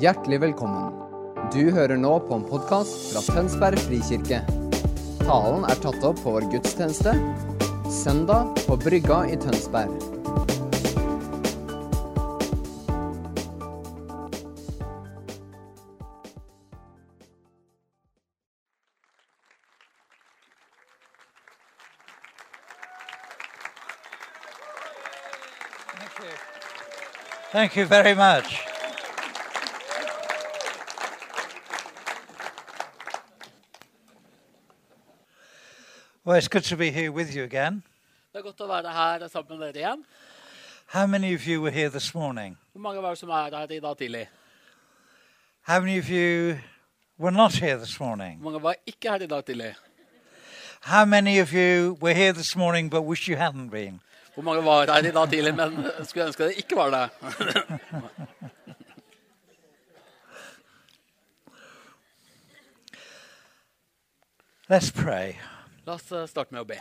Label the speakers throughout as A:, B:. A: Hjertelig velkommen. Du hører nå på en podkast fra Tønsberg frikirke. Talen er tatt opp på vår gudstjeneste søndag på Brygga i Tønsberg.
B: Thank you very much. Well, it's good to be here with you again.
C: Det er godt å være her sammen med dere igjen.
B: How many of you were here this morning?
C: Hvor mange var det som er her i dag tidlig?
B: How many of you were not here this morning?
C: Hvor mange var ikke her i dag tidlig?
B: How many of you were here this morning but wish you hadn't been?
C: Hvor mange var her i dag tidlig, men skulle ønske det ikke var det?
B: Let's pray.
C: La oss eh, starte med å be.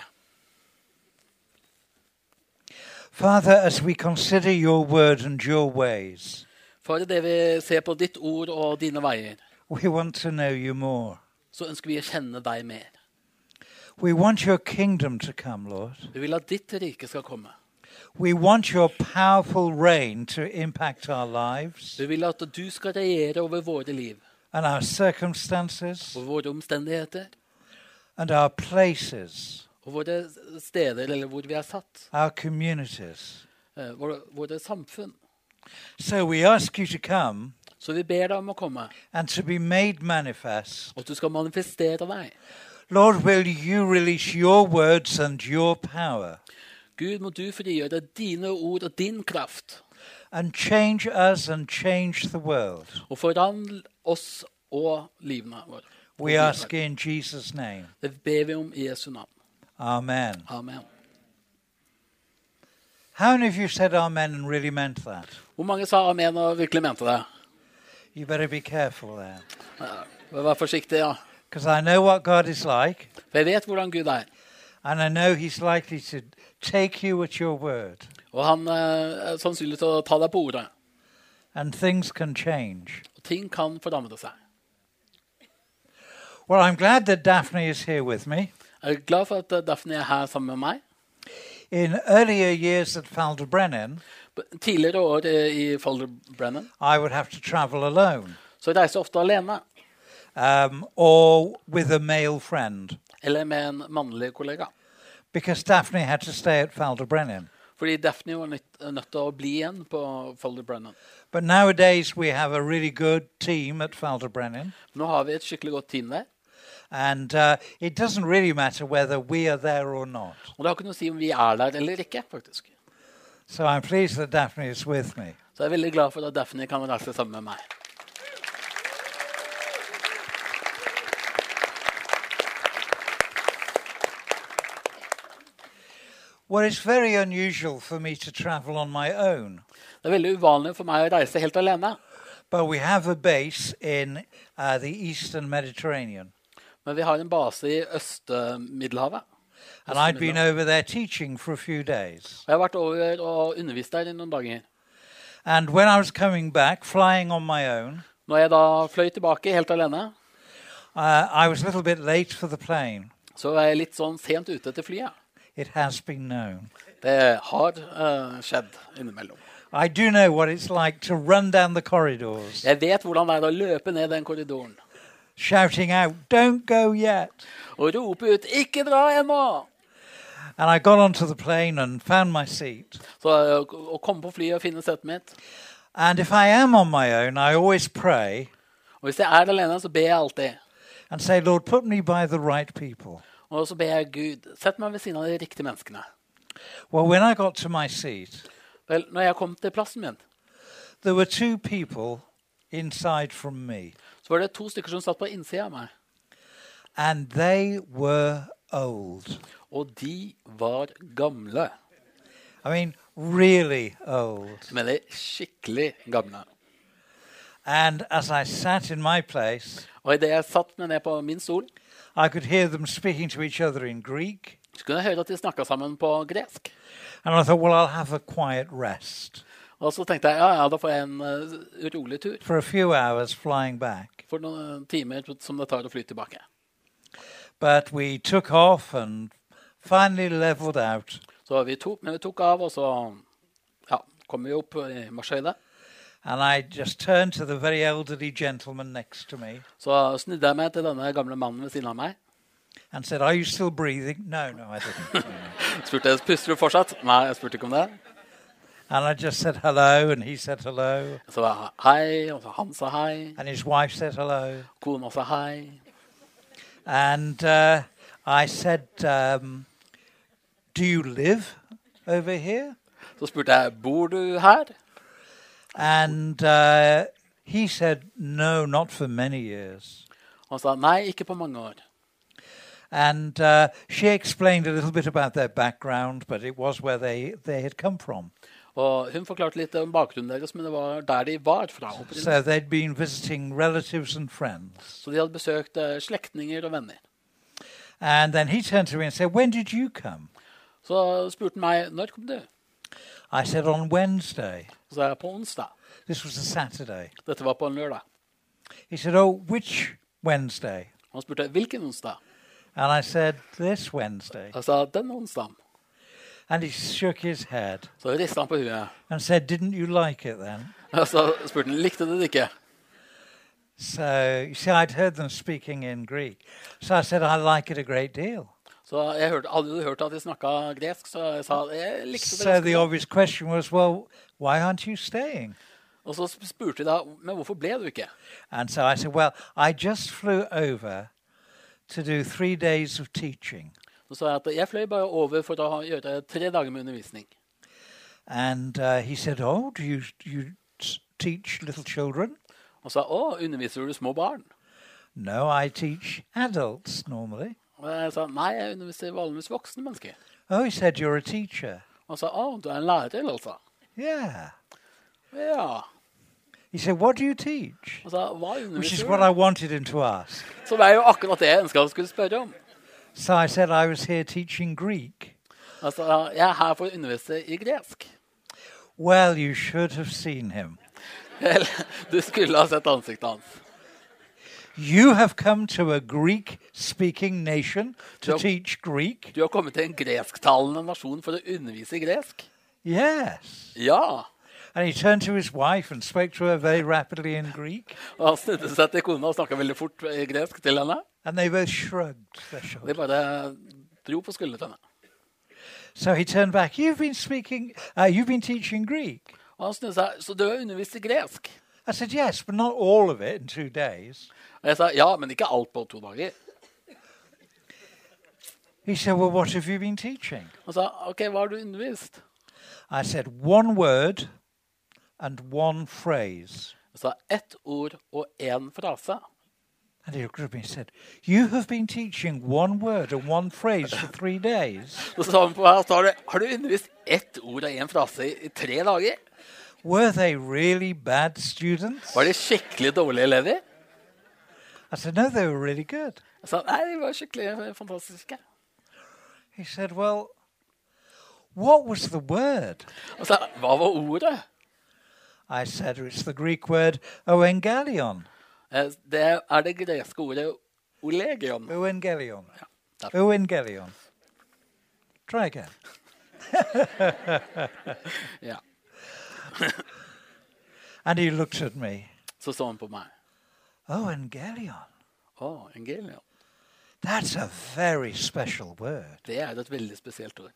B: Father, as we consider your word and your ways,
C: For det vi ser på ditt ord og dine veier,
B: we want to know you more.
C: så ønsker vi å kjenne deg mer.
B: We want your kingdom to come, Lord.
C: Vi vil at ditt rike skal komme.
B: We want your powerful reign to impact our lives
C: Vi vil at du skal regjere over våre liv,
B: and our circumstances
C: over våre omstendigheter,
B: and our places,
C: og våre steder, eller hvor vi er satt,
B: our communities.
C: eh, våre, våre samfunn.
B: So we ask you to come
C: Så vi ber deg om å komme,
B: and to be made manifest.
C: og at du skal manifestere deg.
B: Lord, will you release your words and your power
C: Gud, må du frigjøre dine ord og din kraft,
B: and change us and change the world?
C: og forandre oss og livene våre.
B: We ask in Jesus' name.
C: Det ber vi om i Jesu navn.
B: Amen.
C: Amen.
B: How many of you said amen and really meant that?
C: Hvor mange sa amen og virkelig mente det?
B: You better be careful there.
C: Ja, Vær forsiktig, ja.
B: Because I know what God is like.
C: For jeg vet hvordan Gud er.
B: And I know he's likely to take you at your word,
C: Og han eh, er sannsynlig til å ta deg på ordet.
B: and things can change.
C: Og ting kan forandre seg.
B: Well, I'm glad that Daphne is here with me.
C: Jeg er glad for at eh, Daphne er her sammen med meg.
B: In earlier years at Faldebrennen,
C: B- Tidligere år eh, i Falderbrennen
B: I would have to travel alone
C: så reiser jeg ofte alene.
B: um, or with a male friend
C: Eller med en mannlig kollega.
B: because Daphne had to stay at Faldebrennen.
C: Fordi Daphne var nødt nødt til å bli igjen på Falderbrennen.
B: But nowadays we have a really good team at Faldebrennen,
C: Nå har vi et skikkelig godt team der.
B: and uh, it doesn't really matter whether we are there or not.
C: Og det har ikke noe å si om vi er der eller ikke, faktisk.
B: So I'm pleased that Daphne is with me.
C: Så jeg er veldig glad for at Daphne kan reise sammen med meg.
B: Well, it's very unusual for me to travel on my own.
C: Det er veldig uvanlig for meg å reise helt alene.
B: But we have a base in uh, the Eastern Mediterranean.
C: Men vi har en base i Øst-Middelhavet.
B: And I'd been over there teaching for a few days.
C: Og jeg har vært over og undervist der i noen dager.
B: And when I was coming back, flying on my own,
C: Når jeg da fløy tilbake helt alene,
B: uh, I was a little bit late for the plane.
C: så var jeg litt sånn sent ute til flyet.
B: It has been known.
C: Det har eh, skjedd innimellom.
B: I do know what it's like to run down the corridors,
C: Jeg vet hvordan det er å løpe ned den korridoren
B: shouting out, Don't go yet.
C: og rope ut 'ikke dra ennå!'
B: And I got onto the plane and found my seat.
C: Så eh, å komme på flyet og finne setet mitt.
B: And if I am on my own, I always pray
C: Og hvis jeg er alene, så ber jeg alltid.
B: and say, Lord, put me by the right people.
C: Og så ber jeg Gud, sett meg ved siden av de riktige menneskene.
B: Well, when I got to my seat,
C: Vel, når jeg kom til plassen min,
B: there were two people inside from me,
C: så var det to stykker som satt på innsida av meg.
B: and they were old.
C: Og de var gamle.
B: I mean, really old.
C: Jeg mener skikkelig gamle.
B: And as I sat in my place,
C: Og idet jeg satt meg ned på min stol,
B: I could hear them speaking to each other in Greek,
C: så kunne jeg høre at de snakka sammen på gresk.
B: and I thought, well, I'll have a quiet rest.
C: Og så tenkte jeg ja, ja, da får jeg en eh, rolig tur
B: for a few hours flying back.
C: for noen eh, timer som det tar å fly tilbake.
B: But we took off and finally leveled out.
C: Så vi tok, men vi tok av, og så ja, kom vi opp i marsjhøyde.
B: And I just turned to the very elderly gentleman next to me
C: Så snudde jeg meg til denne gamle mannen ved siden av meg.
B: and said, Are you still breathing? No, no, I didn't.
C: Spurte jeg, puster du fortsatt? Nei, jeg spurte ikke om det.
B: and I just said hello, and he said hello,
C: Så var jeg hei, og så han sa hei,
B: and his wife said hello.
C: kona sa hei.
B: And uh, I said, um, Do you live over here?
C: Så spurte jeg bor du her?
B: And uh, he said, No, not for many years.
C: Og han sa nei, ikke på mange år.
B: And uh, she explained a little bit about their background, but it was where they, they had come from.
C: Og hun forklarte litt om bakgrunnen deres, men det var der de var fra. opprinnelig.
B: So they'd been visiting relatives and friends.
C: Så de hadde besøkt eh, slektninger og venner.
B: And then he turned to me and said, When did you come?
C: Så spurte han meg når kom du?
B: I said, On Wednesday.
C: Så sa jeg på onsdag.
B: This was a Saturday.
C: Dette var på en lørdag.
B: He said, Oh, which Wednesday?
C: Han spurte hvilken onsdag.
B: And I said, This Wednesday.
C: Jeg sa den onsdagen.
B: And he shook his head
C: Så rista han på huet.
B: and said, Didn't you like it then?
C: Og så spurte han likte du det ikke.
B: So, you see, I'd heard them speaking in Greek. So I said, I like it a great deal.
C: Så jeg hørte, hadde jo hørt at de snakka gresk, så jeg sa jeg likte det.
B: So
C: ganske
B: the
C: godt.
B: obvious question was, Well, why aren't you staying?
C: Og så sp- spurte de da men hvorfor ble du ikke?
B: And so I said, Well, I just flew over to do three days of teaching.
C: Så sa jeg at jeg fløy bare over for å ha- gjøre tre dager med undervisning.
B: And uh, he said, Oh, do you, do you s- teach little children?
C: Og sa å, underviser du små barn?
B: No, I teach adults normally.
C: Og jeg sa nei, jeg underviser vanligvis voksne mennesker.
B: Oh, he said, You're a teacher.
C: Og sa å, du er en lærer, altså?
B: Yeah.
C: Ja.
B: He said, What do you teach?
C: Og sa hva
B: Which is
C: underviser
B: what I
C: du?
B: wanted him to ask.
C: Som er jo akkurat det jeg ønska han skulle spørre om.
B: So I said, I was here teaching Greek.
C: Altså, jeg er her for å undervise i gresk.
B: Well, you should have seen him.
C: Vel, du skulle ha sett ansiktet hans.
B: You have come to a Greek speaking nation to
C: Yep.
B: teach Greek?
C: Du har kommet til en gresktalende nasjon for å undervise i gresk?
B: Yes.
C: Ja.
B: And he turned to his wife and spoke to her very rapidly in Greek.
C: Og han snudde seg til kona og snakka veldig fort i gresk til henne.
B: And they both shrugged their shoulders.
C: De bare dro på skuldrene.
B: So he turned back. You've been speaking, uh, you've been teaching Greek.
C: Og han snudde seg. Så du har undervist i gresk?
B: I said, yes, but not all of it in two days.
C: Og jeg sa ja, men ikke alt på to dager.
B: He said, well, what have you been teaching?
C: Han sa OK, hva har du undervist?
B: I said, one word and one phrase.
C: Jeg sa ett ord og én frase.
B: And he looked at me and said, you have been teaching one word and one phrase for three days.
C: Så sa han på meg har du, har du undervist ett ord og én frase i, i tre dager?
B: Were they really bad students?
C: Var de skikkelig dårlige elever?
B: I said, no, they were really good.
C: Jeg sa nei, de var skikkelig eh, fantastiske.
B: He said, well, what was the word?
C: Og sa hva var ordet?
B: I said, it's the Greek word oengalion.
C: Eh, Det er det greske ordet olegion.
B: Evangelion.
C: Ja.
B: Evangelion. Try again.
C: Ja.
B: And he looked at me.
C: Så så han på meg.
B: Oh, Evangelion.
C: Å, engelion.
B: That's a very special word.
C: Det er et veldig spesielt ord.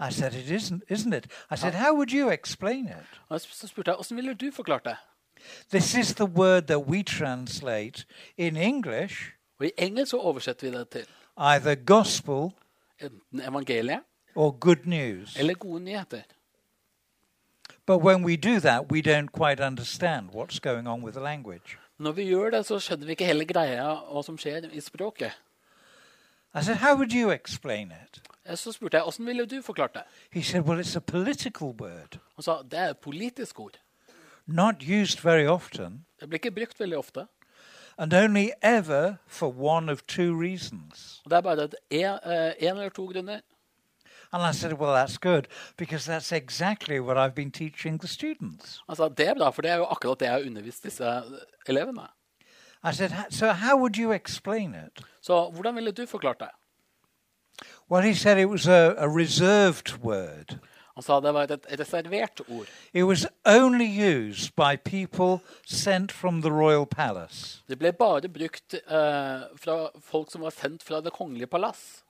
B: I said, it isn't, isn't it? I said, how would you explain it?
C: Og jeg sp- så spurte jeg åssen ville du forklart det?
B: This is the word that we translate in English,
C: Og i engelsk så oversetter vi det til
B: either gospel
C: enten evangeliet
B: or good news.
C: eller gode nyheter.
B: But when we do that, we don't quite understand what's going on with the language.
C: Når vi gjør det, så skjønner vi ikke hele greia hva som skjer i språket.
B: I said, how would you explain it?
C: Eh, Så spurte jeg åssen ville du forklart det?
B: He said, well, it's a political word,
C: Han sa det er et politisk ord.
B: not used very often.
C: Det blir ikke brukt veldig ofte.
B: and only ever for one of two reasons.
C: eh, Og det er bare én eller to grunner.
B: And I said, Well, that's good, because that's exactly what I've been teaching the students.
C: Han sa det er bra, for det er jo akkurat det jeg har undervist disse eh, elevene.
B: I said, "H- So how would you explain it?
C: Så hvordan ville du forklart det?
B: Well, he said it was a, a reserved word.
C: Han sa det var et reservert ord.
B: It was only used by people sent from the royal palace.
C: Det ble bare brukt eh, fra folk som var sendt fra Det kongelige palass.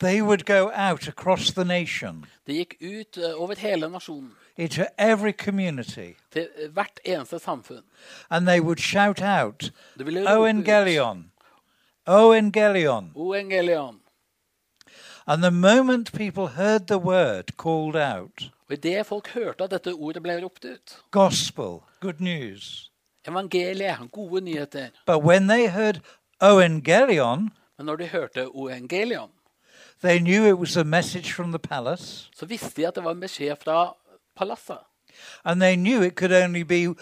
B: They would go out across the nation
C: Det gikk ut eh, over hele nasjonen,
B: into every community
C: til eh, hvert eneste samfunn.
B: and they would shout out,
C: Det ville
B: O
C: rope ut
B: Evangelion, O Evangelion.
C: O Engelion.
B: And the moment people heard the word called out,
C: Og idet folk hørte at dette ordet ble ropt ut
B: gospel, good news.
C: Evangeliet, gode nyheter.
B: But when they heard O Evangelion,
C: Men når de hørte O Engelion,
B: they knew it was a message from the palace
C: så visste de at det var en beskjed fra palasset.
B: and they knew it could only be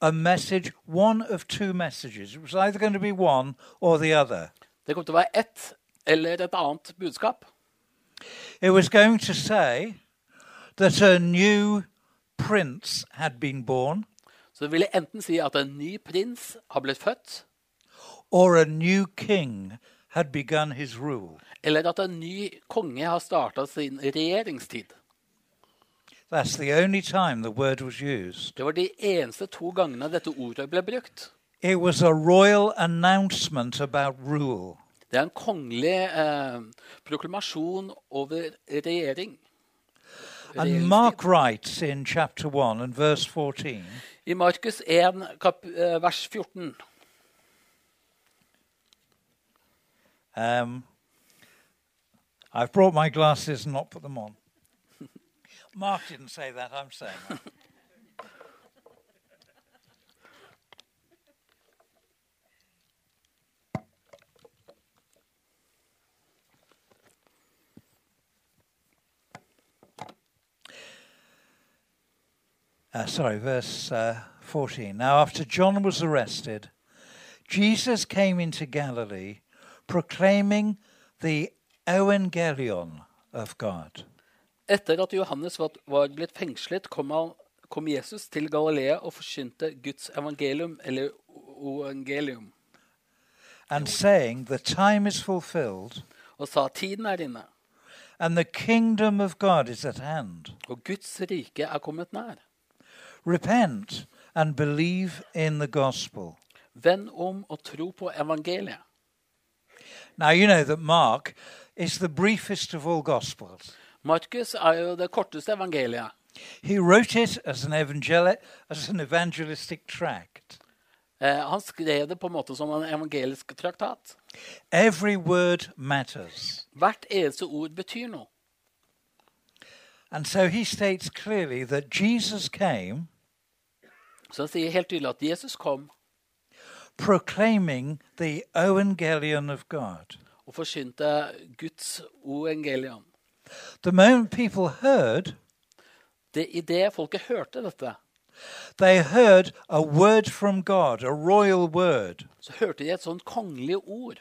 B: a message, one of two messages. It was either going to be one or the other.
C: Det kom til å være ett eller et annet budskap.
B: It was going to say that a new prince had been born
C: Så det ville enten si at en ny prins har blitt født,
B: or a new king had begun his rule.
C: eller at en ny konge har starta sin regjeringstid.
B: That's the only time the word was used.
C: Det var de eneste to gangene dette ordet ble brukt.
B: It was a royal announcement about rule.
C: Det er en kongelig eh, proklamasjon over regjering.
B: And Mark writes in chapter 1 and verse 14
C: I Markus 1, kap, eh, vers 14.
B: um, I've brought my glasses and not put them on. Mark didn't say that, I'm saying that. Uh, sorry, verse uh, 14. Now, after John was arrested, Jesus came into Galilee proclaiming the evangelion of God.
C: Etter at Johannes var, var blitt fengslet, kom, han, kom Jesus til Galilea og forkynte Guds evangelium, eller o- evangelium,
B: and saying, The time is fulfilled
C: og sa tiden er inne,
B: and the kingdom of God is at hand.
C: og Guds rike er kommet nær.
B: Repent and believe in the gospel.
C: Vend om og tro på evangeliet.
B: Now, you know that Mark is the briefest of all gospels.
C: Markus er jo det korteste evangeliet.
B: He wrote it as an, evangel- as an evangelistic tract.
C: Eh, han skrev det på en måte som en evangelisk traktat.
B: Every word matters.
C: Hvert eneste ord betyr noe.
B: And so he states clearly that Jesus came
C: Så han sier helt tydelig at Jesus kom
B: proclaiming the evangelion of God.
C: og forkynte Guds evangelium.
B: The moment people heard,
C: Det, I det folket hørte dette,
B: They heard a word from God, a royal word,
C: så hørte de et sånt kongelig ord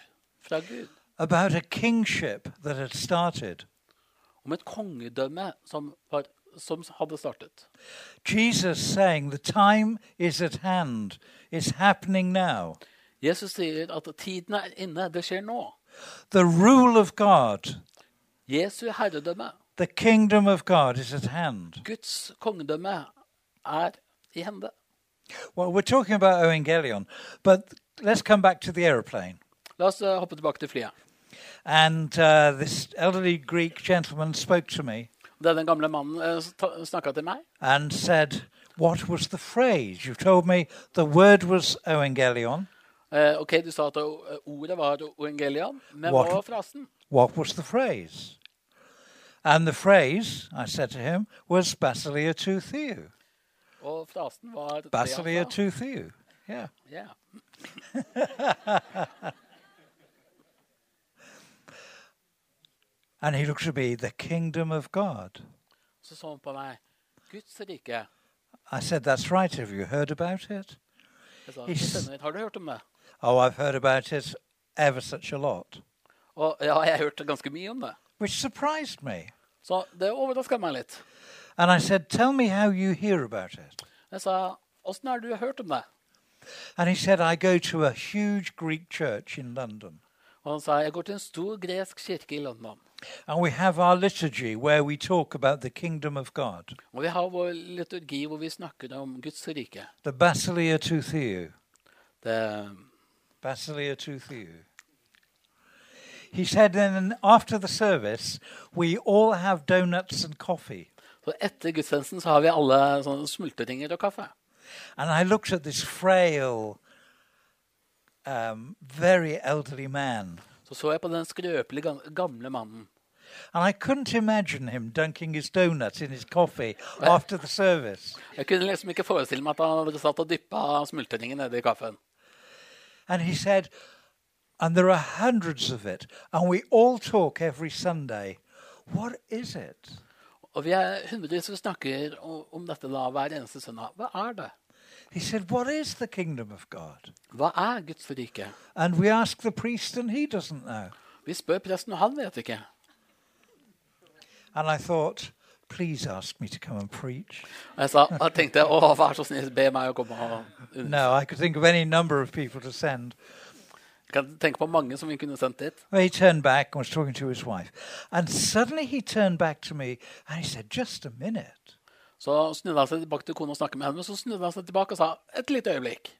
C: fra Gud
B: about a kingship that had started.
C: om et kongedømme som, var, som hadde startet.
B: Jesus saying, The time is at hand, it's happening now.
C: Jesus sier at tiden er inne, det skjer nå.
B: The rule of God,
C: Jesu herredømme,
B: the kingdom of God is at hand.
C: Guds kongedømme, er i hende.
B: Well, we're talking about Evangelion, but let's come back to the aeroplane.
C: La oss eh, hoppe tilbake til flyet.
B: And uh, this elderly Greek gentleman spoke to me
C: Denne gamle mannen eh, snakka til meg.
B: and said, What was the phrase? You told me the word was Evangelion.
C: Eh, ok, du sa at eh, ordet var evangelion, men hva
B: What?
C: var frasen?
B: What was the phrase? And the phrase, I said to him, was Basilia to Theo.
C: Og frasen var det han sa.
B: Basilia to Theo. Yeah.
C: Ja.
B: And he looked to be the kingdom of God.
C: Så så han på meg. Guds rike.
B: I said, That's right. Have you heard about it?
C: Jeg sa,
B: Is-
C: «Sønner, har du hørt om det?
B: Oh, I've heard about it ever such a lot,
C: Og ja, jeg har hørt ganske mye om det.
B: which surprised me.
C: Så det overraska meg litt.
B: And I said, Tell me how you hear about it.
C: Jeg sa, 'Åssen har du hørt om det?'
B: And he said, I go to a huge Greek church in London.
C: Og han sa, 'Jeg går til en stor gresk kirke i London,
B: And we have our liturgy where we talk about the kingdom of God,
C: og vi har vår liturgi hvor vi snakker om Guds rike.'
B: the Basileia to Theou.
C: Det,
B: Basileia to Theou. He said, then after the service, we all have donuts and coffee.
C: så etter gudstjenesten så har vi alle sånne smultringer og kaffe.
B: And I looked at this frail, um, very elderly man,
C: Så så jeg på den skrøpelige gam- gamle mannen.
B: and I couldn't imagine him dunking his donuts in his coffee after the service.
C: Jeg kunne liksom ikke forestille meg at han hadde satt og dyppa smultringen nedi kaffen.
B: And he said, and there are hundreds of it, and we all talk every Sunday. What is it?
C: Og vi er hundrevis som snakker o- om dette da hver eneste søndag. Hva er det?
B: He said, What is the kingdom of God?
C: Hva er Guds rike?
B: And we ask the priest, and he doesn't know.
C: Vi spør presten, og han vet ikke.
B: And I thought, Please ask me to come and preach.
C: Og jeg sa, da tenkte jeg, å, vær så snill, be meg å komme og under.
B: No, I could think of any number of people to send.
C: Kan tenke på mange som vi kunne sendt dit.
B: Well, he turned back and was talking to his wife. And suddenly he turned back to me and he said, Just a minute.
C: Så snudde han seg tilbake til kona og snakket med henne, men så snudde han seg tilbake og sa, et lite øyeblikk.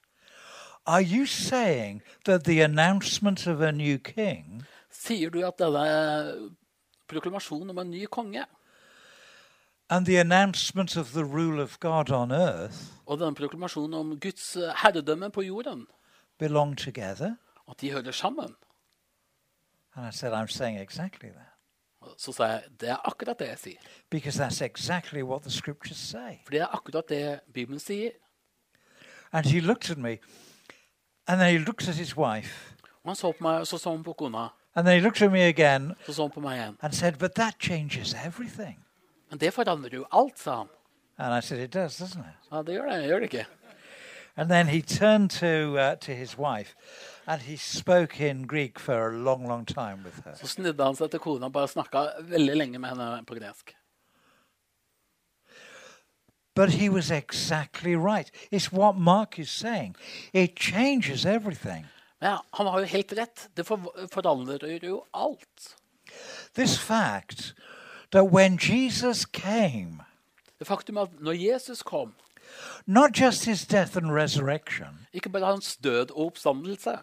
B: Are you saying that the announcement of a new king
C: Sier du at denne proklamasjonen om en ny konge,
B: and the announcement of the rule of God on earth
C: og denne proklamasjonen om Guds herredømme på jorden,
B: belong together?
C: at de hører sammen?
B: And I said, I'm saying exactly that
C: Og Så sa jeg, det er akkurat det jeg sier.
B: because that's exactly what the scriptures say.
C: For det er akkurat det Bibelen sier.
B: And he looked at me and then he looked at his wife
C: Og han så på meg, og så så han på kona,
B: and then he looked at me again
C: så så han på meg igjen.
B: and said, But that changes everything.
C: Men det forandrer jo alt, sa han.
B: And I said, It does, doesn't it?
C: Ja, det gjør det, gjør det ikke.
B: And then he turned to uh, to his wife, and he spoke in Greek for a long, long time with her.
C: Så snudde han seg til kona og bare snakka veldig lenge med henne på gresk.
B: But he was exactly right. It's what Mark is saying. It changes everything.
C: Men ja, han har jo helt rett. Det for forandrer jo alt.
B: This fact that when Jesus came,
C: Det faktum at når Jesus kom,
B: not just his death and resurrection.
C: ikke bare hans død og oppstandelse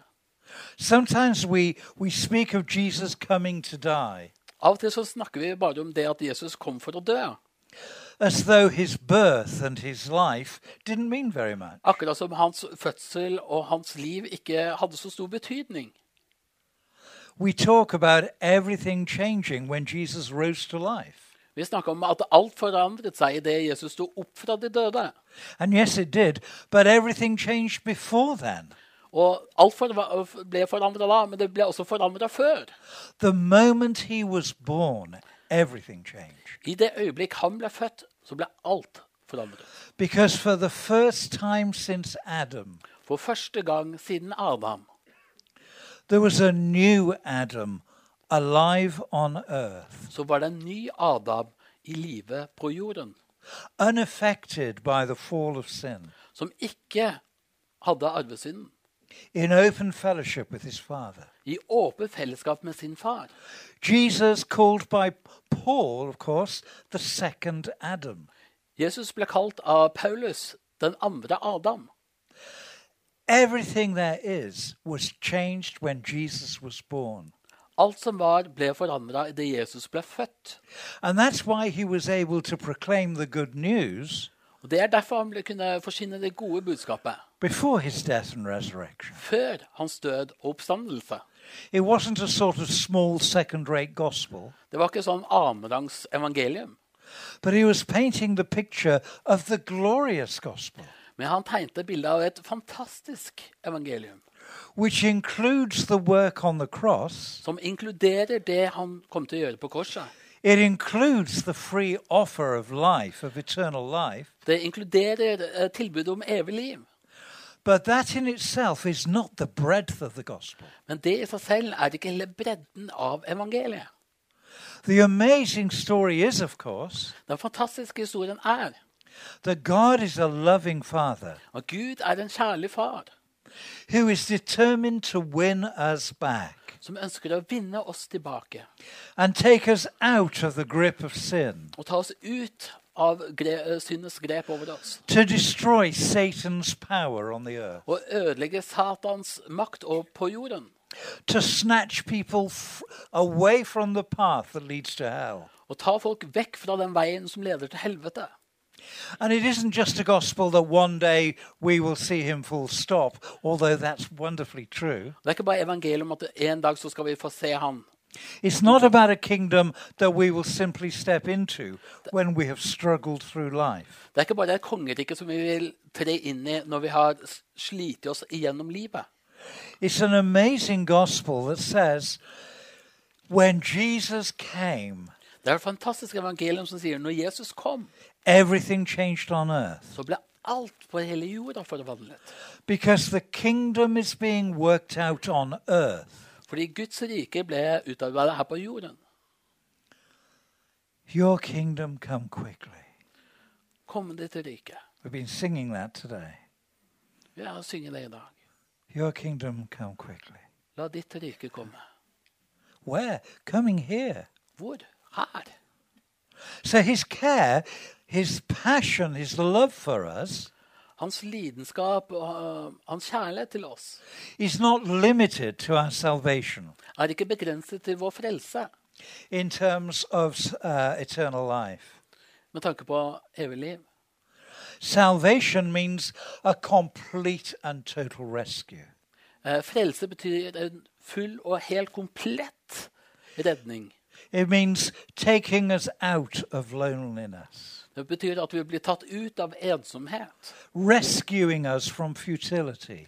B: Sometimes we we speak of Jesus coming to die
C: Av og til så snakker vi bare om det at Jesus kom for å dø.
B: as though his birth and his life didn't mean very much.
C: Akkurat som hans fødsel og hans liv ikke hadde så stor betydning.
B: We talk about everything changing when Jesus rose to life.
C: Vi snakker om at alt forandret seg idet Jesus sto opp fra de døde.
B: And yes, it did, but everything changed before then.
C: Og alt forva- ble forandra da, men det ble også forandra før.
B: The moment he was born, everything changed.
C: I det øyeblikk han ble født, så ble alt forandret.
B: Because for the first time since Adam,
C: For første gang siden Adam
B: there was a new Adam alive on earth,
C: så var det en ny Adam i live på jorden,
B: unaffected by the fall of sin,
C: som ikke hadde arvesynden,
B: in open fellowship with his Father.
C: i åpent fellesskap med sin far.
B: Jesus, called by Paul, of course, the second Adam.
C: Jesus ble kalt av Paulus den andre Adam.
B: Everything there is was changed when Jesus was born.
C: Alt som var, ble forandra idet Jesus ble født.
B: And that's why he was able to proclaim the good news
C: Og Det er derfor han ble kunne forsyne det gode budskapet
B: before his death and resurrection.
C: før hans død og oppstandelse.
B: It wasn't a sort of small second rate gospel,
C: Det var ikke sånn annenrangs evangelium,
B: but he was painting the picture of the glorious gospel,
C: men han tegnte bildet av et fantastisk evangelium.
B: which includes the work on the cross,
C: som inkluderer det han kom til å gjøre på korset.
B: it includes the free offer of life, of eternal life.
C: Det inkluderer eh, tilbudet om evig liv.
B: But that in itself is not the breadth of the gospel.
C: Men det i seg selv er ikke hele bredden av evangeliet.
B: The amazing story is, of course,
C: Den fantastiske historien er
B: that God is a loving Father
C: at Gud er en kjærlig far
B: who is determined to win us back
C: som ønsker å vinne oss tilbake
B: and take us out of the grip of sin,
C: og ta oss ut av gre eh, syndens grep over oss.
B: to destroy Satan's power on the earth,
C: Og ødelegge Satans makt over på jorden.
B: to snatch people f- away from the path that leads to hell.
C: Og ta folk vekk fra den veien som leder til helvete.
B: And it isn't just a gospel that one day we will see him full stop, although that's wonderfully true.
C: Det er ikke bare evangeliet om at en dag så skal vi få se han.
B: It's not about a kingdom that we will simply step into when we have struggled through life.
C: Det er ikke bare et kongerike som vi vil tre inn i når vi har s- slitt oss igjennom livet.
B: It's an amazing gospel that says when Jesus came,
C: Det er et fantastisk evangelium som sier når Jesus kom,
B: everything changed on earth
C: så ble alt på hele jorda forvandlet.
B: because the kingdom is being worked out on earth.
C: Fordi Guds rike ble utarbeidet her på jorden.
B: Your kingdom come quickly.
C: Kom deg til riket.
B: We've been singing that today.
C: Vi er og synger det i dag.
B: Your kingdom come quickly.
C: La ditt rike komme.
B: Where? Coming here.
C: Hvor? Her.
B: So his care, his passion, his love for us
C: Hans lidenskap og øh, hans kjærlighet til oss
B: is not limited to our salvation
C: er ikke begrenset til vår frelse
B: in terms of uh, eternal life.
C: med tanke på evig liv.
B: Salvation means a complete and total rescue.
C: Eh, Frelse betyr en full og helt komplett redning.
B: It means taking us out of loneliness,
C: Det betyr at vi blir tatt ut av ensomhet.
B: rescuing us from futility,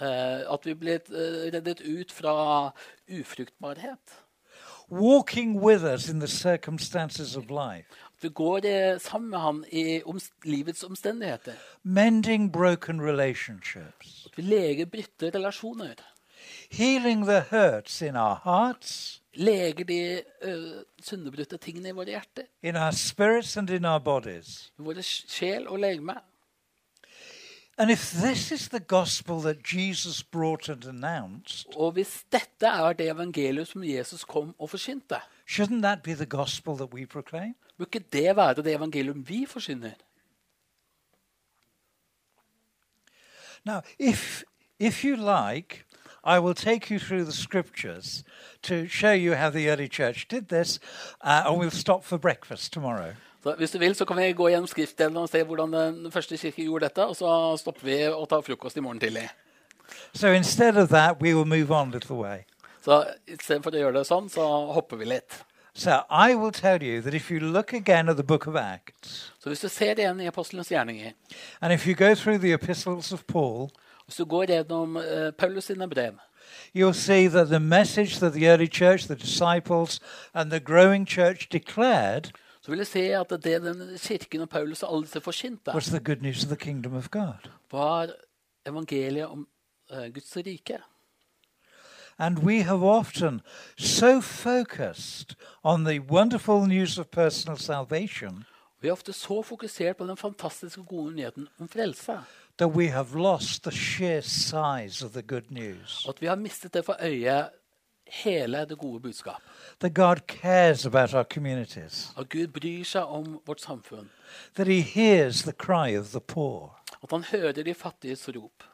C: Eh, At vi blir eh, reddet ut fra ufruktbarhet.
B: walking with us in the circumstances of life,
C: At vi går eh, sammen med han i oms- livets omstendigheter.
B: mending broken relationships,
C: At vi leger brutte relasjoner.
B: healing the hurts in our hearts,
C: Leger de eh, syndebrutte tingene i våre hjerter.
B: in our spirits, and in our bodies.
C: I våre sj- sjel og legeme.
B: And if this is the gospel that Jesus brought and announced,
C: Og hvis dette er det evangeliet som Jesus kom og forsynte,
B: shouldn't that be the gospel that we proclaim?
C: bør ikke det være det evangelium vi forsyner?
B: Now, if if you like, I will take you through the scriptures to show you how the early church did this, uh, and we'll stop for breakfast tomorrow.
C: Så hvis du vil, så kan vi gå gjennom skriftdelen og se hvordan den første kirke gjorde dette, og så stopper vi og tar frokost i morgen tidlig.
B: So instead of that, we will move on a little way.
C: Så istedenfor å gjøre det sånn, så hopper vi litt.
B: So I will tell you that if you look again at the book of Acts,
C: Så hvis du ser det igjen i apostelens gjerninger,
B: and if you go through the epistles of Paul,
C: hvis du går gjennom eh, Paulus sine brev,
B: you'll see that the message that the early church, the disciples, and the growing church declared
C: så vil du se at det den kirken og Paulus og alle disse forsynte,
B: was the good news of the kingdom of God.
C: var evangeliet om eh, Guds rike.
B: And we have often so focused on the wonderful news of personal salvation
C: Vi er ofte så fokusert på den fantastiske gode nyheten om frelse
B: that we have lost the sheer size of the good news.
C: at vi har mistet det for øye hele det gode budskap.
B: That God cares about our communities,
C: At Gud bryr seg om vårt samfunn.
B: that He hears the cry of the poor,
C: At han hører de fattiges rop.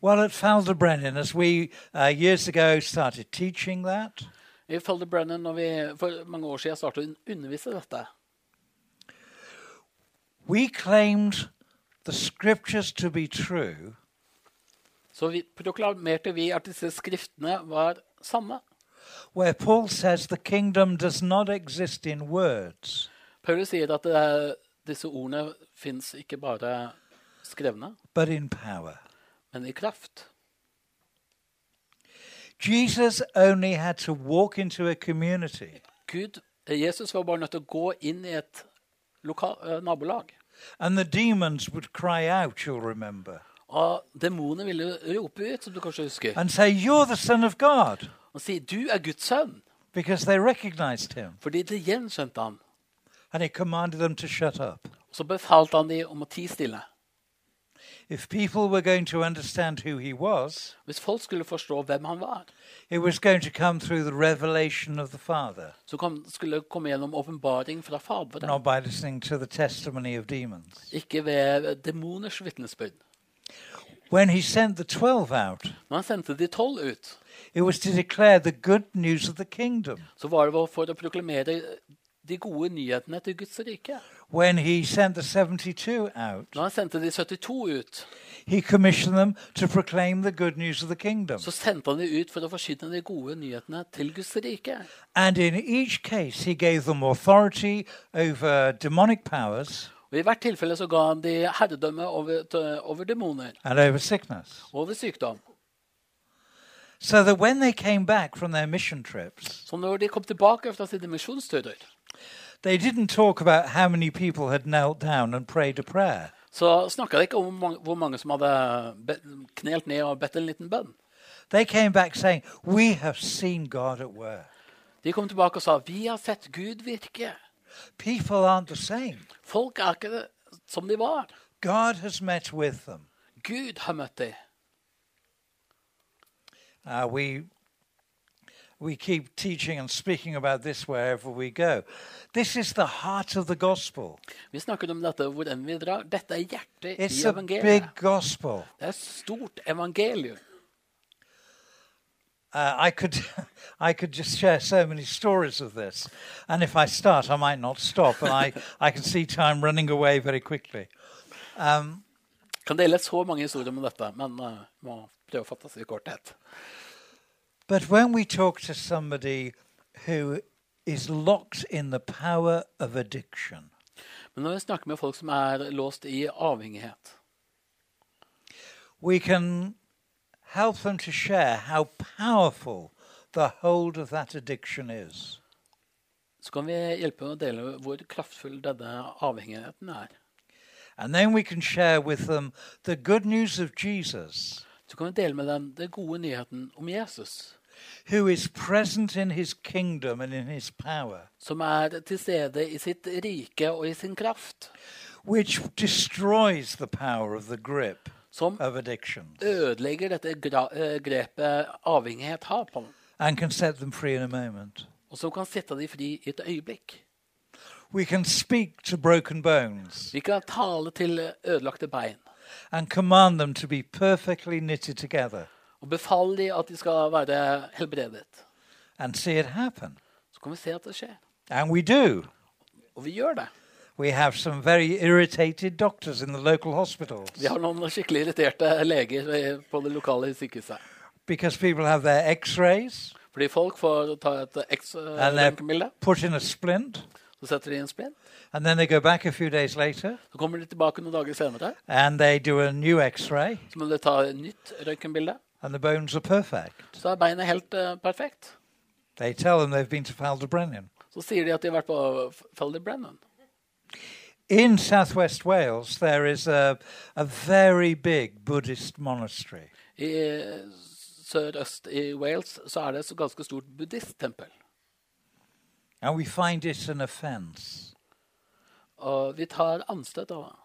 B: Well, at Falderbrennen, as we uh, years ago started teaching that,
C: I Felder Brennan, når vi for mange år siden startet å undervise dette,
B: we claimed the scriptures to be true
C: så vi proklamerte vi at disse skriftene var sanne.
B: where Paul says the kingdom does not exist in words,
C: Paulus sier at eh, disse ordene fins ikke bare skrevne,
B: but in power.
C: men i kraft.
B: Jesus only had to walk into a community
C: Gud, eh, Jesus var bare nødt til å gå inn i et loka, eh, nabolag.
B: and the demons would cry out, you'll remember.
C: Og demonene ville rope ut, som du kanskje husker,
B: and say, You're the Son of God,
C: og si 'Du er Guds sønn',
B: because they recognized him.
C: fordi de gjenkjente ham.
B: And he commanded them to shut up.
C: Og så befalte han de om å tie stille.
B: If people were going to understand who he was,
C: Hvis folk skulle forstå hvem han var,
B: it was going to come through the revelation of the Father,
C: så kom, skulle det komme gjennom åpenbaring fra Faderen.
B: not by listening to the testimony of demons.
C: Ikke ved demoners vitnesbyrd.
B: When he sent the twelve out,
C: Når han sendte de tolv ut,
B: it was to declare the good news of the kingdom.
C: så var det for å proklamere de gode nyhetene til Guds rike.
B: When he sent the 72 out,
C: Når han sendte de 72 ut,
B: he commissioned them to proclaim the good news of the kingdom.
C: så sendte han de ut for å forsyne de gode nyhetene til Guds rike.
B: And in each case, he gave them authority over demonic powers
C: Og I hvert tilfelle så ga han de herredømme over, t- over demoner,
B: and over sickness.
C: over sykdom.
B: So that when they came back from their mission trips,
C: Så når de kom tilbake fra sine misjonsturer,
B: they didn't talk about how many people had knelt down and prayed a prayer.
C: så snakka de ikke om hvor mange- hvor mange som hadde be- knelt ned og bedt en liten bønn.
B: They came back saying, We have seen God at work.
C: De kom tilbake og sa 'Vi har sett Gud virke'.
B: People aren't the same.
C: Folk er ikke det som de var.
B: God has met with them.
C: Gud har møtt dem.
B: Uh, we we keep teaching and speaking about this wherever we go. This is the heart of the gospel.
C: Vi snakker om dette hvor enn vi drar. Dette er hjertet
B: It's
C: i
B: a big
C: evangeliet.
B: gospel.
C: Det er et stort evangelium.
B: Uh, I could I could just share so many stories of this, and if I start, I might not stop, and I I can see time running away very quickly.
C: Kan dele så mange historier om dette, men eh, må prøve å fatte seg i korthet.
B: But when we talk to somebody who is locked in the power of addiction,
C: Men når vi snakker med folk som er låst i avhengighet,
B: we can help them to share how powerful the hold of that addiction is.
C: så kan vi hjelpe med å dele hvor kraftfull denne avhengigheten er.
B: And then we can share with them the good news of Jesus,
C: Så kan vi dele med dem den gode nyheten om Jesus,
B: who is present in his kingdom and in his power,
C: som er til stede i sitt rike og i sin kraft,
B: which destroys the power of the grip
C: som
B: of addiction
C: ødelegger dette gra eh, grepet avhengighet har på dem,
B: and can set them free in a moment.
C: og som kan sette dem fri i et øyeblikk.
B: We can speak to broken bones
C: Vi kan tale til ødelagte bein
B: and command them to be perfectly knitted together
C: og befale dem at de skal være helbredet.
B: and see it happen.
C: Så kan vi se at det skjer.
B: And we do.
C: Og vi gjør det.
B: We have some very irritated doctors in the local hospitals
C: Vi har noen skikkelig irriterte leger i- på det lokale sykehuset.
B: because people have their x rays
C: Fordi folk får ta et
B: and they're
C: X-røntgenbilde,
B: put in a splint,
C: så setter de inn splint.
B: and then they go back a few days later
C: Så kommer de tilbake noen dager senere,
B: and they do a new x ray,
C: så må de ta et nytt røntgenbilde.
B: and the bones are perfect.
C: Så er beinet helt eh, perfekt.
B: They tell them they've been to Faldebrennan.
C: Så sier de at de har vært på Felder Brennan.
B: In southwest Wales, there is a, a very big Buddhist monastery.
C: I sørøst i Wales så er det et ganske stort buddhisttempel.
B: And we find it an offense.
C: Og vi tar anstøt av det.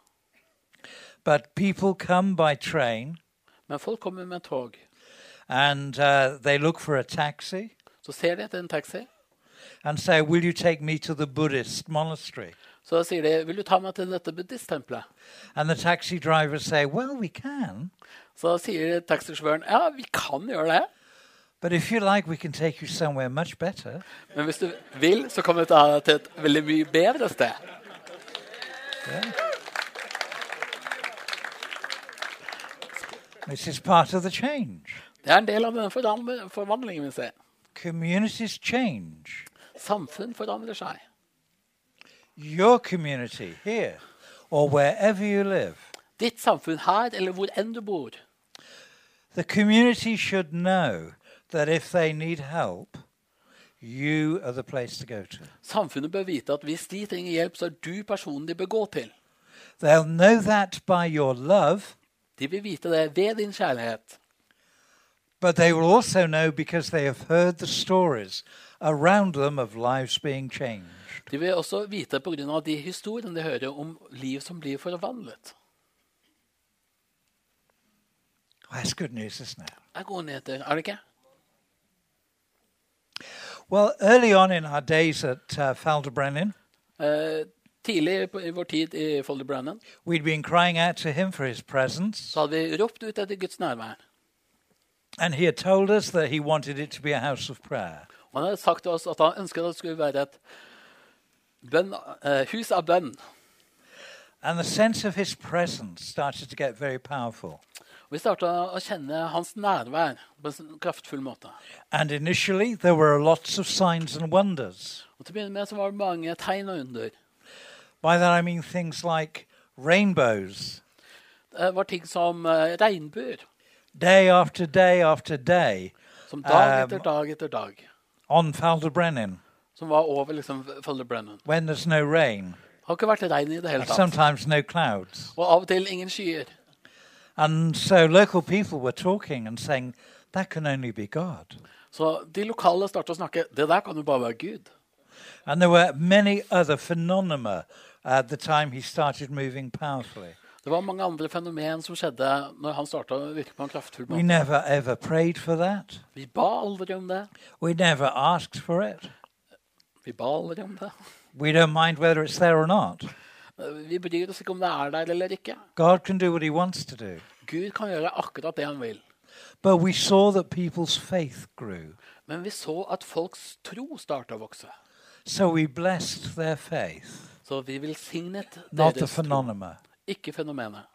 B: But people come by train
C: Men folk kommer med tog.
B: and uh, they look for a taxi
C: Så ser de etter en taxi.
B: and say, Will you take me to the Buddhist monastery?
C: Så sier de 'Vil du ta meg til dette buddhisttempelet?'
B: And the taxi drivers say, Well, we can,
C: Så sier taxisjåføren 'Ja, vi kan gjøre det',
B: but if you like, we can take you somewhere much better.
C: men hvis du vil, så kan vi ta deg til et veldig mye bedre sted.
B: This is part of the change.
C: Det er en del av den foran- forvandlingen vi ser.
B: Communities change.
C: Samfunn forandrer seg.
B: Your community here or wherever you live,
C: Ditt samfunn her, eller hvor enn du bor.
B: the community should know that if they need help, you are the place to go to.
C: Samfunnet bør vite at hvis de trenger hjelp, så er du personen de bør gå til.
B: They'll know that by your love
C: De vil vite det ved din kjærlighet.
B: But they will also know because they have heard the stories around them of lives being changed.
C: De vil også vite på grunn av de historiene de hører om liv som blir forvandlet.
B: That's good news, isn't it?
C: Det er gode nyheter, er det ikke?
B: Well, early on in our days at uh, Falderbrennen,
C: Eh, tidlig på- i vår tid i Folder Brannan
B: we'd been crying out to him for his presence,
C: så hadde vi ropt ut etter Guds nærvær.
B: and he had told us that he wanted it to be a house of prayer.
C: Og han hadde sagt til oss at han ønsket at det skulle være et bønn, eh, hus av bønn.
B: And the sense of his presence started to get very powerful.
C: Og Vi starta å kjenne hans nærvær på en sånn kraftfull måte.
B: And initially, there were lots of signs and wonders.
C: Og Til å begynne med så var det mange tegn og under.
B: By that, I mean things like rainbows,
C: Det var ting som eh, regnbuer.
B: day after day after day,
C: Som dag
B: Um,
C: etter dag etter dag.
B: on Falderbrennen
C: Som var over liksom Folder Brannan.
B: when there's no rain,
C: Det har ikke vært regn i det hele
B: and
C: tatt.
B: sometimes no clouds.
C: Og av og til ingen skyer.
B: And so local people were talking and saying, that can only be God.
C: Så de lokale starta å snakke. Det der kan jo bare være Gud.
B: And there were many other phenomena at the time he started moving powerfully.
C: Det var mange andre fenomen som skjedde når han starta å virke på en kraftfull
B: We
C: måte.
B: never ever prayed for that.
C: Vi ba aldri om det.
B: We never asked for it.
C: Vi ba aldri om det.
B: We don't mind whether it's there or not.
C: Eh, Vi bryr oss ikke om det er der eller ikke.
B: God can do what he wants to do.
C: Gud kan gjøre akkurat det han vil.
B: But we saw that people's faith grew.
C: Men vi så at folks tro starta å vokse.
B: So we blessed their faith,
C: Så vi velsignet
B: not the
C: deres tro,
B: phenomena.
C: ikke fenomenet.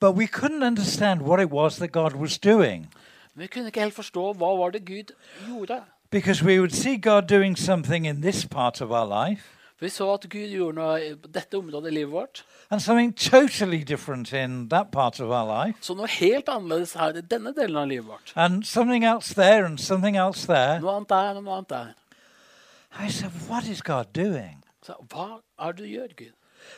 B: But we couldn't understand what it was that God was doing.
C: Men vi kunne ikke helt forstå hva var det Gud gjorde.
B: Because we would see God doing something in this part of our life
C: Vi så at Gud gjorde noe i dette området i livet vårt.
B: and something totally different in that part of our life
C: Så noe helt annerledes her i denne delen av livet vårt.
B: and something else there and something else there.
C: Noe annet der og noe annet der.
B: I said, What is God doing?
C: Så hva er det du gjør, Gud?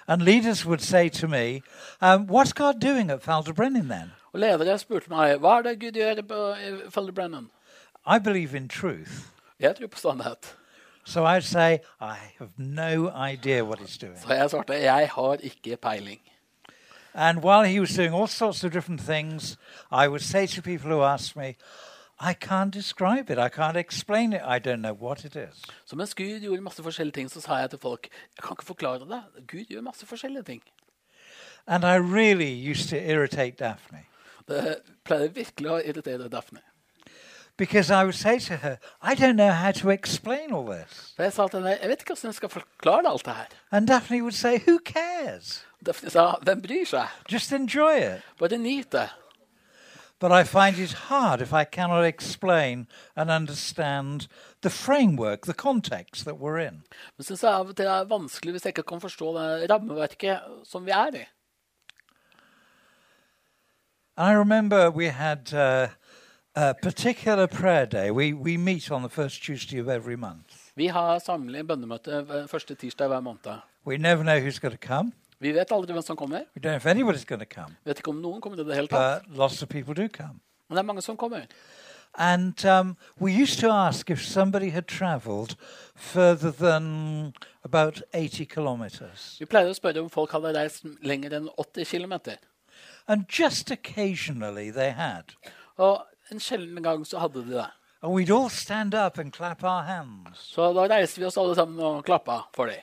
B: And leaders would say to me, um, What's God doing at Falderbrennen then?
C: Og ledere spurte meg hva er det Gud gjør på i Felder Brennan.
B: I believe in truth.
C: Jeg tror på sannhet.
B: So I'd say, I have no idea what he's doing.
C: Så jeg svarte jeg har ikke peiling.
B: And while he was doing all sorts of different things, I would say to people who asked me, I can't describe it. I can't explain it. I don't know what it is.
C: Så mens Gud gjorde masse forskjellige ting, så sa jeg til folk jeg kan ikke forklare det. Gud gjør masse forskjellige ting.
B: And I really used to irritate Daphne
C: Det pleier virkelig å irritere Daphne.
B: because I would say to her, I don't know how to explain all this.
C: For jeg sa til henne jeg vet ikke hvordan jeg skal forklare alt det her.
B: And Daphne would say, Who cares?
C: Daphne sa hvem bryr seg?
B: Just enjoy it.
C: Bare nyt det.
B: But I find it hard if I cannot explain and understand the framework, the context that we're in.
C: Men syns jeg av og til det er vanskelig hvis jeg ikke kan forstå det rammeverket som vi er i.
B: And I remember we had uh, a particular prayer day. We, we meet on the first Tuesday of every month.
C: Vi har samling bønnemøte hver- første tirsdag hver måned.
B: We never know who's going to come.
C: Vi vet aldri hvem som kommer.
B: We don't know if anybody's going to come,
C: Vet ikke om noen kommer til det hele tatt.
B: but lots of people do come.
C: Men det er mange som kommer.
B: And um, we used to ask if somebody had traveled further than about 80 kilometers.
C: Vi pleier å spørre om folk hadde reist lenger enn 80 km.
B: And just occasionally they had.
C: Og en sjelden gang så hadde de det.
B: And we'd all stand up and clap our hands.
C: Så da reiste vi oss alle sammen og klappa for dem.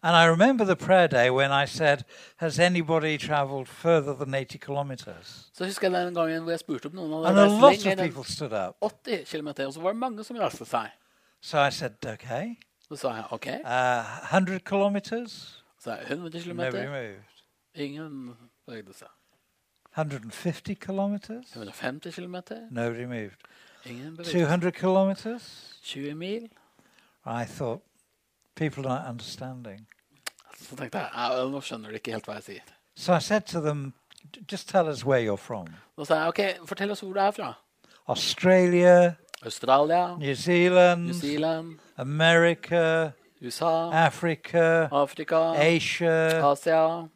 B: And I remember the prayer day when I said, Has anybody traveled further than 80 kilometers?
C: Så husker jeg den gangen hvor jeg spurte om noen
B: And a
C: hadde
B: lot
C: reist
B: of
C: lenger enn
B: people stood up.
C: 80 km, og så var det mange som reiste seg.
B: So I said, okay,
C: Så sa jeg OK.
B: uh, 100 kilometers?
C: Så sa jeg 100
B: Nobody
C: km.
B: moved.
C: Ingen bevegde seg.
B: 150 kilometers?
C: 150 km.
B: Nobody moved.
C: Ingen bevegde seg.
B: 200 kilometers?
C: 20 mil.
B: I thought, people are not understanding.
C: Så tenkte jeg ja, nå skjønner de ikke helt hva jeg sier.
B: So I said to them, "J- just tell us where you're from.
C: Da sa jeg OK, fortell oss hvor du er fra.
B: Australia,
C: Australia,
B: New
C: New
B: Zealand,
C: Zealand,
B: America,
C: USA,
B: Africa,
C: Uh, Afrika,
B: Asia,
C: Asia.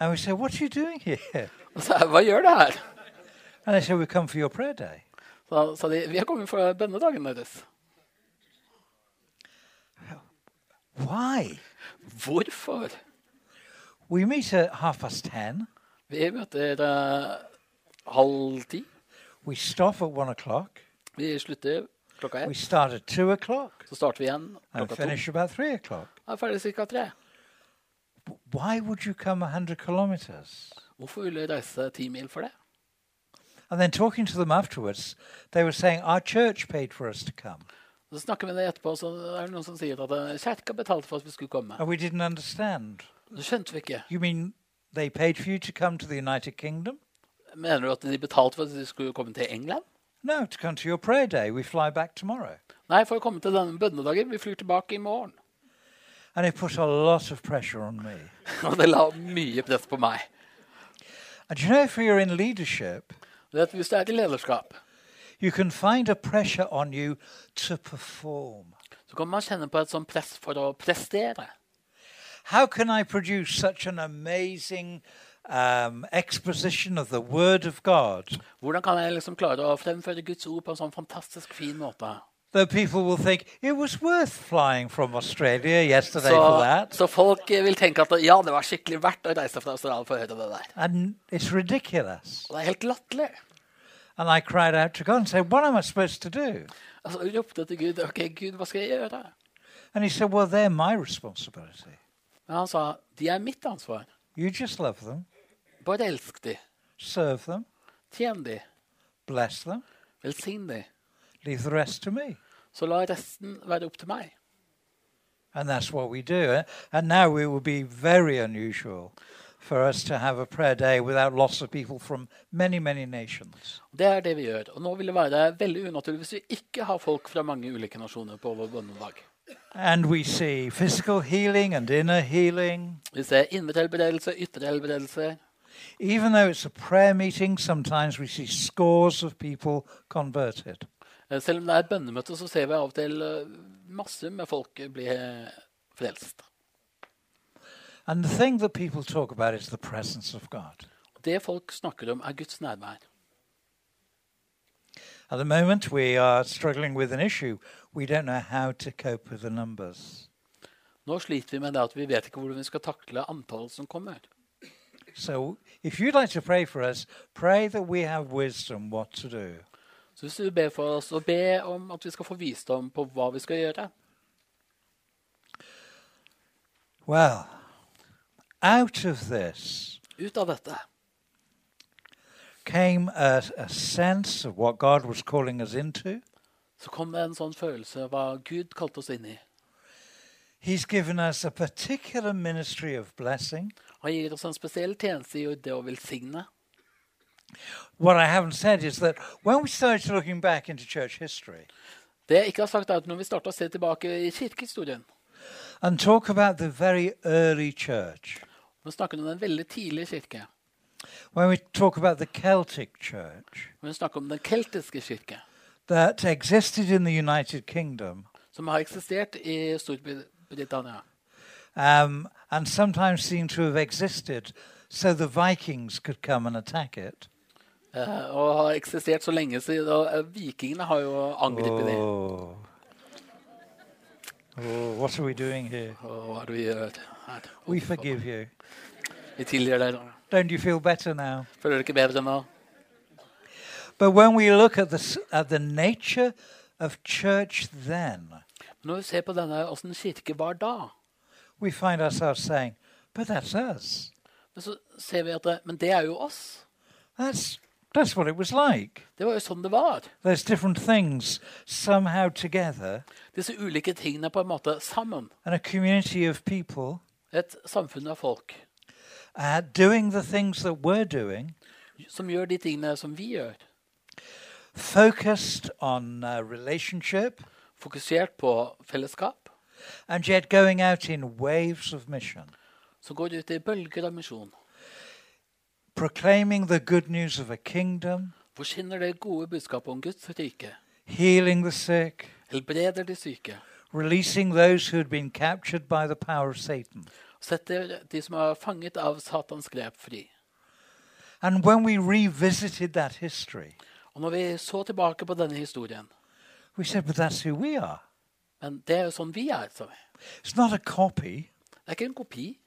B: And we said, What are you doing here?
C: Og sa jeg, hva gjør det her?
B: And they said, We've come for your prayer day.
C: Så da sa de, vi har kommet fra bønnedagen deres.
B: Why?
C: Hvorfor?
B: We meet at half past 10.
C: Vi møter eh, halv ti.
B: We stop at 1 o'clock.
C: Vi slutter klokka
B: We
C: ett.
B: start at 2 o'clock
C: Så starter vi igjen
B: and
C: klokka to.
B: finish about 3 o'clock.
C: Jeg er ferdig ca. tre.
B: W- Why would you come 100 kilometers?
C: Hvorfor vil du reise ti mil for det?
B: And then talking to them afterwards, they were saying, Our church paid for us to come.
C: Så snakker vi med deg etterpå, så er det noen som sier at eh, kirka betalte for at vi skulle komme.
B: And we didn't understand.
C: Det skjønte vi ikke.
B: You mean they paid for you to come to the United Kingdom?
C: Mener du at de betalte for at de skulle komme til England?
B: No, to come to your prayer day. We fly back tomorrow.
C: Nei, for å komme til denne bønnedagen. Vi flyr tilbake i morgen.
B: And it put a lot of pressure on me.
C: Og det la mye press på meg.
B: And you know, if you're in leadership,
C: Du Vet, hvis du er i lederskap,
B: you can find a pressure on you to perform.
C: så kan man kjenne på et sånt press for å prestere.
B: How can I produce such an amazing um, exposition of the Word of God
C: Hvordan kan jeg liksom klare å fremføre Guds ord på en sånn fantastisk fin måte?
B: that people will think it was worth flying from Australia yesterday
C: Så,
B: for that?
C: så folk eh, vil tenke at ja, det var skikkelig verdt å reise fra Australia for å høre det der.
B: And it's ridiculous.
C: Og det er helt latterlig.
B: And I cried out to God and said, What am I supposed to do?
C: Altså, jeg ropte til Gud OK, Gud, hva skal jeg gjøre?
B: And He said, Well, they're my responsibility.
C: Men han sa de er mitt ansvar.
B: You just love them,
C: Bare elsk de.
B: serve them,
C: Tjen de.
B: bless them,
C: Velsign de.
B: leave the rest to me.
C: Så la resten være opp til meg.
B: And that's what we do. eh? And now it would be very unusual for us to have a prayer day without lots of people from many, many nations.
C: Det er det vi gjør. Og nå vil det være veldig unaturlig hvis vi ikke har folk fra mange ulike nasjoner på vår bønnedag.
B: And we see physical healing and inner healing.
C: Vi ser indre helbredelse, ytre helbredelse.
B: Even though it's a prayer meeting, sometimes we see scores of people converted.
C: Eh, Selv om det er et bønnemøte, så ser vi av og til eh, masse med folk bli eh, frelst.
B: And the thing that people talk about is the presence of God.
C: Det folk snakker om, er Guds nærvær.
B: At the moment, we are struggling with an issue. We don't know how to cope with the numbers.
C: Nå sliter vi med det at vi vet ikke hvordan vi skal takle antallet som kommer.
B: So if you'd like to pray for us, pray that we have wisdom what to do.
C: Så hvis du ber for oss, og be om at vi skal få visdom på hva vi skal gjøre.
B: Well, out of this
C: Ut av dette
B: came a, a sense of what God was calling us into.
C: så kom det en sånn følelse av hva Gud kalte oss inn i.
B: He's given us a particular ministry of blessing.
C: Han gir oss en spesiell tjeneste i det å velsigne.
B: What I haven't said is that when we started looking back into church history
C: Det jeg ikke har sagt, er at når vi starter å se tilbake i kirkehistorien
B: and talk about the very early church,
C: Nå snakker vi om den veldig tidlige kirke.
B: when we talk about the Celtic church
C: Men vi snakker om den keltiske kirke,
B: that existed in the United Kingdom
C: som har eksistert i Storbritannia.
B: um, and sometimes seem to have existed so the Vikings could come and attack it.
C: eh, Og har eksistert så lenge siden og eh, Vikingene har jo angrepet det.
B: Oh. Oh, what are we doing here?
C: Og hva er det vi gjør her?
B: We forgive you.
C: Vi tilgir dere.
B: Don't you feel better now?
C: Føler dere ikke bedre nå?
B: But when we look at the, s- at the nature of church then,
C: Når vi ser på denne åssen kirke var da,
B: we find ourselves saying, but that's us.
C: men så ser vi at det, Men det er jo oss.
B: That's, that's what it was like.
C: Det var jo sånn det var.
B: There's different things somehow together,
C: Disse ulike tingene på en måte sammen.
B: and a community of people
C: Et samfunn av folk
B: uh, doing the things that we're doing,
C: som gjør de tingene som vi gjør.
B: focused on uh, relationship,
C: Fokusert på fellesskap.
B: and yet going out in waves of mission,
C: Som går ut i bølger av misjon.
B: proclaiming the good news of a kingdom,
C: Forsyner det gode budskapet om Guds rike.
B: healing the sick,
C: Helbreder de syke.
B: releasing those who had been captured by the power of Satan.
C: setter de som er fanget av Satans grep, fri.
B: And when we revisited that history,
C: Og når vi så tilbake på denne historien
B: we said, but that's who we are.
C: Men det er jo sånn vi er. sa vi.
B: It's not a copy.
C: Det er ikke en kopi,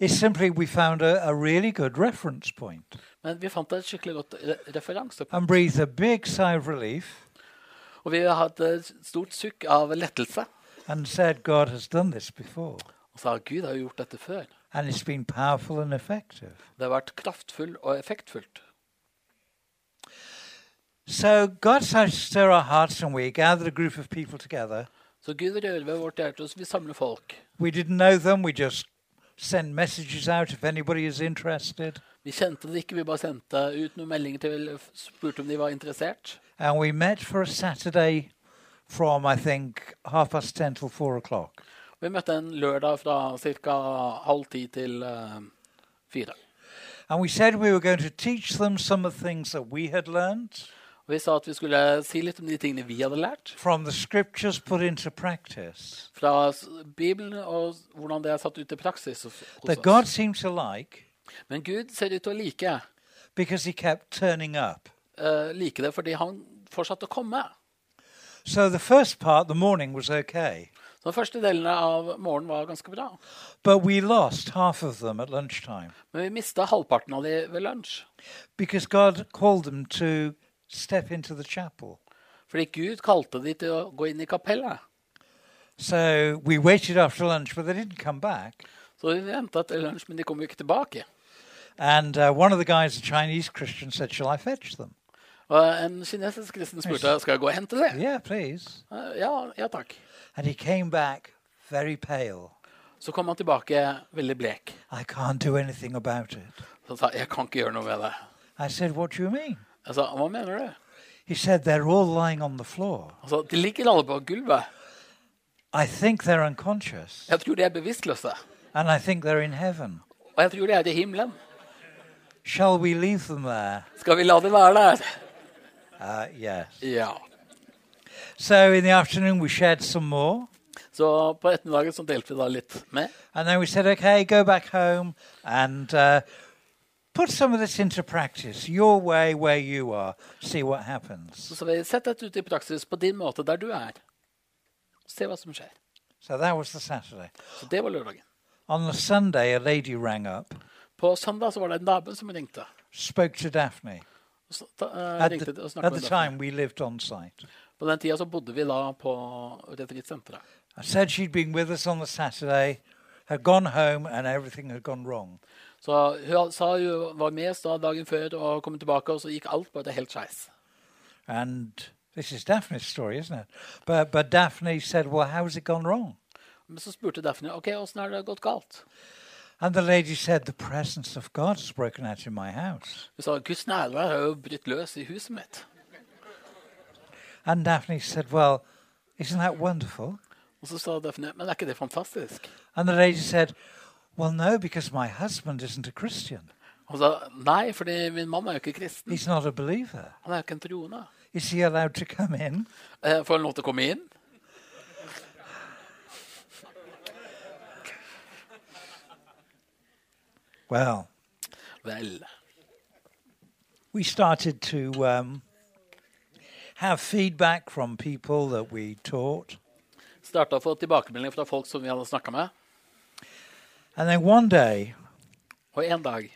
B: It's simply we found a, a really good reference point
C: men vi fant et skikkelig godt re referanse.
B: and breathed a big sigh of relief
C: Og vi hadde et stort sukk av lettelse.
B: and said, God has done this before.
C: Og sa Gud har jo gjort dette før.
B: And it's been powerful and effective.
C: Det har vært kraftfull og effektfullt.
B: So God started to stir our hearts and we gathered a group of people together.
C: Så Gud rører ved vårt hjerte, og vi samler folk.
B: We didn't know them. We just sent messages out if anybody is interested.
C: Vi kjente det ikke, vi bare sendte ut noen meldinger til spurte om de var interessert.
B: And we met for a Saturday from, I think, half past 10 till 4 o'clock.
C: Vi møtte en lørdag fra ca. halv ti til eh, fire.
B: And we said we were going to teach them some of the things that we had learned
C: Og vi sa at vi skulle si litt om de tingene vi hadde lært
B: from the scriptures put into practice
C: fra s- Bibelen, og s- hvordan det er satt ut i praksis hos hos
B: that God
C: oss.
B: seemed to like
C: Men Gud ser ut til å like,
B: because he kept turning up.
C: eh, like det fordi han fortsatte å komme.
B: So the first part, the morning, was okay.
C: Så den første delen av morgenen var ganske bra.
B: But we lost half of them at lunchtime
C: Men vi mista halvparten av de ved lunsj.
B: because God called them to step into the chapel.
C: Fordi Gud kalte de til å gå inn i kapellet.
B: So we waited after lunch, but they didn't come back.
C: Så vi venta til lunsj, men de kom jo ikke tilbake.
B: And uh, one of the guys, a Chinese Christian, said, Shall I fetch them?
C: Og en kinesisk kristen spurte skal jeg gå og hente det.
B: Yeah, please.
C: Eh, Ja, ja takk.
B: And he came back very pale.
C: Så kom han tilbake veldig blek.
B: I can't do anything about it.
C: Så han sa jeg kan ikke gjøre noe med det.
B: I said, What do you mean?
C: Jeg sa Altså, hva mener du?
B: He said, They're all lying on the floor.
C: Han sa de ligger alle på gulvet.
B: I think they're unconscious,
C: Jeg tror de er bevisstløse.
B: and I think they're in heaven.
C: Og jeg tror de er i himmelen.
B: Shall we leave them there?
C: Skal vi la dem være der?
B: Uh, yes.
C: Ja.
B: So in the afternoon, we shared some more,
C: Så på ettermiddagen så delte vi da litt med.
B: and then we said, Okay, go back home and uh, put some of this into practice your way, where you are, see what happens.
C: Så sa vi sett dette ut i praksis på din måte der du er. Se hva som skjer.
B: So that was the Saturday.
C: Så det var lørdagen.
B: On the Sunday, a lady rang up,
C: På søndag så var det en nabo som ringte.
B: spoke to Daphne.
C: Så, da, eh,
B: At
C: ringte til-
B: the,
C: og snakket
B: at
C: med
B: the time,
C: Daphne.
B: we lived on site.
C: På den tida så bodde vi da på retrittsenteret.
B: I said she'd been with us on the Saturday, had gone home, and everything had gone wrong.
C: Så hun sa hun var med oss da dagen før og kom tilbake, og så gikk alt bare helt skeis.
B: And this is Daphne's story, isn't it? But but Daphne said, "Well, how's it gone wrong?"
C: Men så spurte Daphne ok, åssen har det gått galt.
B: And the lady said, "The presence of God has broken out in my house."
C: Hun sa Guds nærvær har jo brutt løs i huset mitt.
B: And Daphne said, "Well, isn't that wonderful?"
C: Og så sa Daphne men er ikke det fantastisk?
B: And the lady said, "Well, no, because my husband isn't a Christian.
C: Hun sa nei, fordi min mann er jo ikke kristen.
B: He's not a believer.
C: Han er jo ikke en troende.
B: Is he allowed to come in?"
C: Eh, Får han lov til å komme inn?
B: Well,
C: Vel.
B: we started to um, have feedback from people that we taught.
C: Starta å få tilbakemeldinger fra folk som vi hadde snakka med.
B: And then one day,
C: Og en dag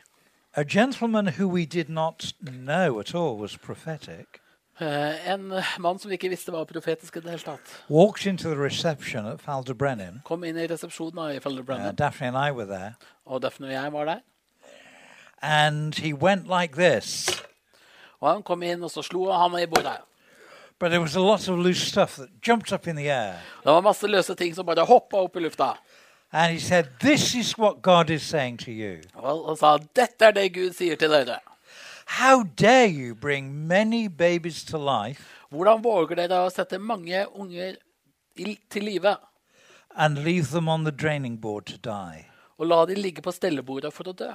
B: a gentleman who we did not know at all was prophetic
C: eh, En mann som vi ikke visste var profetisk i det hele tatt,
B: walked into the reception at Faldebrennen.
C: kom inn i resepsjonen i
B: Uh,
C: Fellerbrennet,
B: Daphne and I were there.
C: og Daphne og jeg var der.
B: And he went like this.
C: Og han kom inn, og så slo han meg i bordet.
B: But there was a lot of loose stuff that jumped up in the air.
C: Det var masse løse ting som bare hoppa opp i lufta.
B: And he said, This is what God is saying to you.
C: Og han sa 'Dette er det Gud sier til dere'.
B: How dare you bring many babies to life
C: Hvordan våger dere å sette mange unger i- til live
B: and leave them on the draining board to die?
C: og la de ligge på stellebordet for å dø?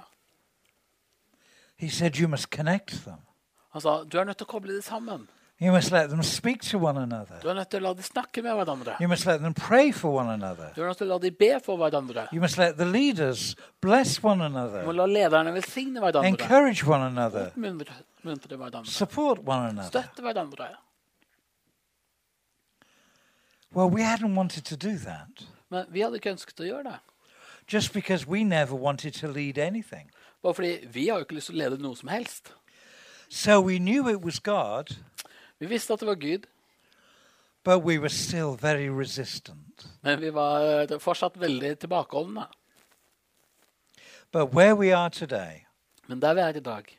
B: He said, You must connect them.
C: Han sa 'Du er nødt til å koble de sammen'.
B: You must let them speak to one another.
C: Du er nødt til å la de snakke med hverandre.
B: You must let them pray for one another.
C: Du er nødt til å la de be for hverandre.
B: You must let the leaders bless one
C: Du må
B: another,
C: la lederne velsigne hverandre.
B: encourage one another,
C: Oppmuntre oppmuntre hverandre.
B: support one another.
C: Støtte hverandre.
B: Well, we hadn't wanted to do that
C: Men vi hadde ikke ønsket å gjøre det.
B: just because we never wanted to lead anything.
C: Bare fordi vi har jo ikke lyst til å lede noe som helst.
B: So we knew it was God,
C: Vi visste at det var Gud,
B: but we were still very resistant.
C: men vi var eh, fortsatt veldig tilbakeholdne.
B: But where we are today
C: Men der vi er i dag,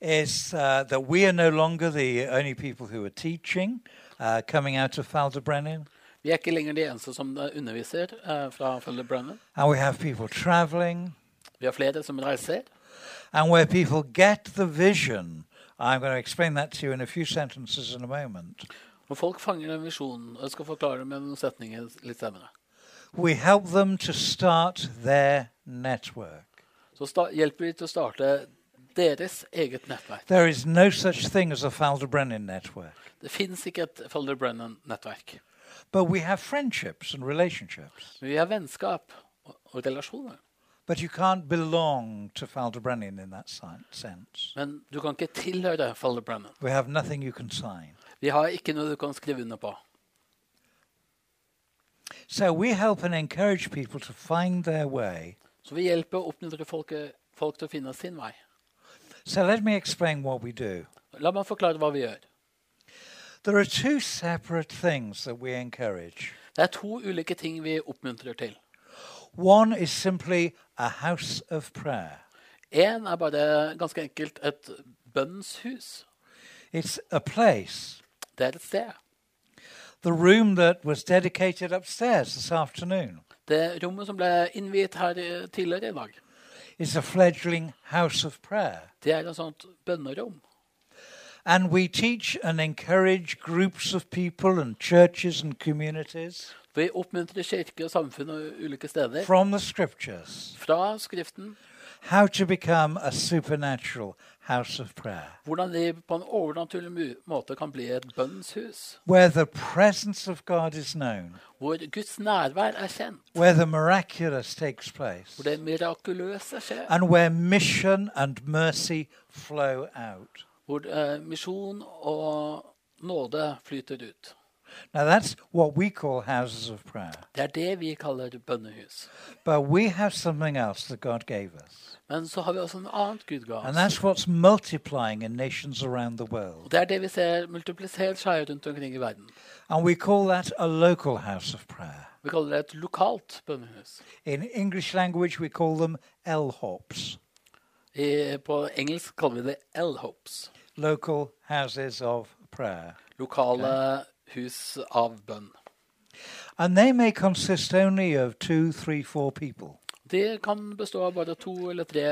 B: is uh, that we are no longer the only people who are teaching uh, coming out of Falderbrennen,
C: vi er ikke lenger de eneste som underviser eh, fra Følge Brennan.
B: and we have people traveling,
C: Vi har flere som reiser,
B: and where people get the vision. I'm going to explain that to you in a few sentences in a moment.
C: og folk fanger den visjonen. og Jeg skal forklare det med noen setninger litt senere.
B: We help them to start their network.
C: Så sta hjelper vi til å starte deres eget nettverk.
B: There is no such thing as a Falderbrennen network,
C: Det fins ikke et Følge Brennan-nettverk.
B: but we have friendships and relationships.
C: Men vi har vennskap og, og relasjoner.
B: But you can't belong to Falderbrennen in that si- sense.
C: Men du kan ikke tilhøre Følge Brennan.
B: We have nothing you can sign.
C: Vi har ikke noe du kan skrive under på.
B: So we help and encourage people to find their way.
C: Så vi hjelper og oppmuntrer folk, folk til å finne sin vei.
B: So let me explain what we do.
C: La meg forklare hva vi gjør.
B: There are two separate things that we encourage.
C: Det er to ulike ting vi oppmuntrer til.
B: One is simply a house of prayer.
C: Én er bare ganske enkelt et bønnshus.
B: It's a place,
C: Det er et sted.
B: the room that was dedicated upstairs this afternoon.
C: Det rommet som ble innviet her eh, tidligere i dag,
B: is a fledgling house of prayer.
C: det er et sånt bønnerom.
B: And we teach and encourage groups of people and churches and communities
C: Vi oppmuntrer kirke og samfunn og ulike steder
B: from the scriptures
C: fra Skriften
B: how to become a supernatural house of prayer,
C: hvordan de på en overnaturlig mu- måte kan bli et bønnshus.
B: where the presence of God is known,
C: Hvor Guds nærvær er kjent.
B: where the miraculous takes place,
C: Hvor det mirakuløse skjer.
B: and where mission and mercy flow out.
C: Hvor eh, misjon og nåde flyter ut.
B: Now, that's what we call houses of prayer.
C: Det er det vi kaller bønnehus.
B: But we have something else that God gave us.
C: Men så har vi også en annen Gud ga
B: And
C: oss.
B: that's what's multiplying in nations around the
C: Og
B: world.
C: det er det vi ser multiplisert seg rundt omkring i verden.
B: And we call that a local house of prayer.
C: Vi kaller det et lokalt bønnehus.
B: In English language, we call them LHOPs,
C: I, på engelsk kaller vi det L-hopes.
B: local houses of prayer.
C: Lokale hus av bønn.
B: And they may consist only of two, three, four people.
C: De kan bestå av bare to eller tre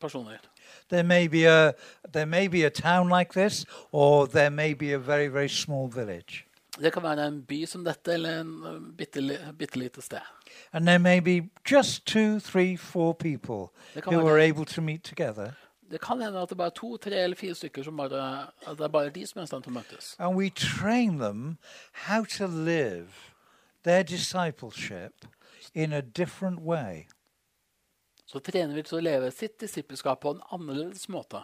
C: personer.
B: There may be a there may be a town like this, or there may be a very very small village,
C: Det kan være en by som dette, eller en eh, bitte, li- bitte lite sted.
B: and there may be just two, three, four people
C: Det kan
B: who
C: være-
B: are able to meet together,
C: Det kan hende at det bare er to, tre eller fire stykker som bare, at det er bare de som er i stand til å møtes.
B: and we train them how to live their discipleship in a different way.
C: Så trener vi til å leve sitt disippelskap på en annerledes måte.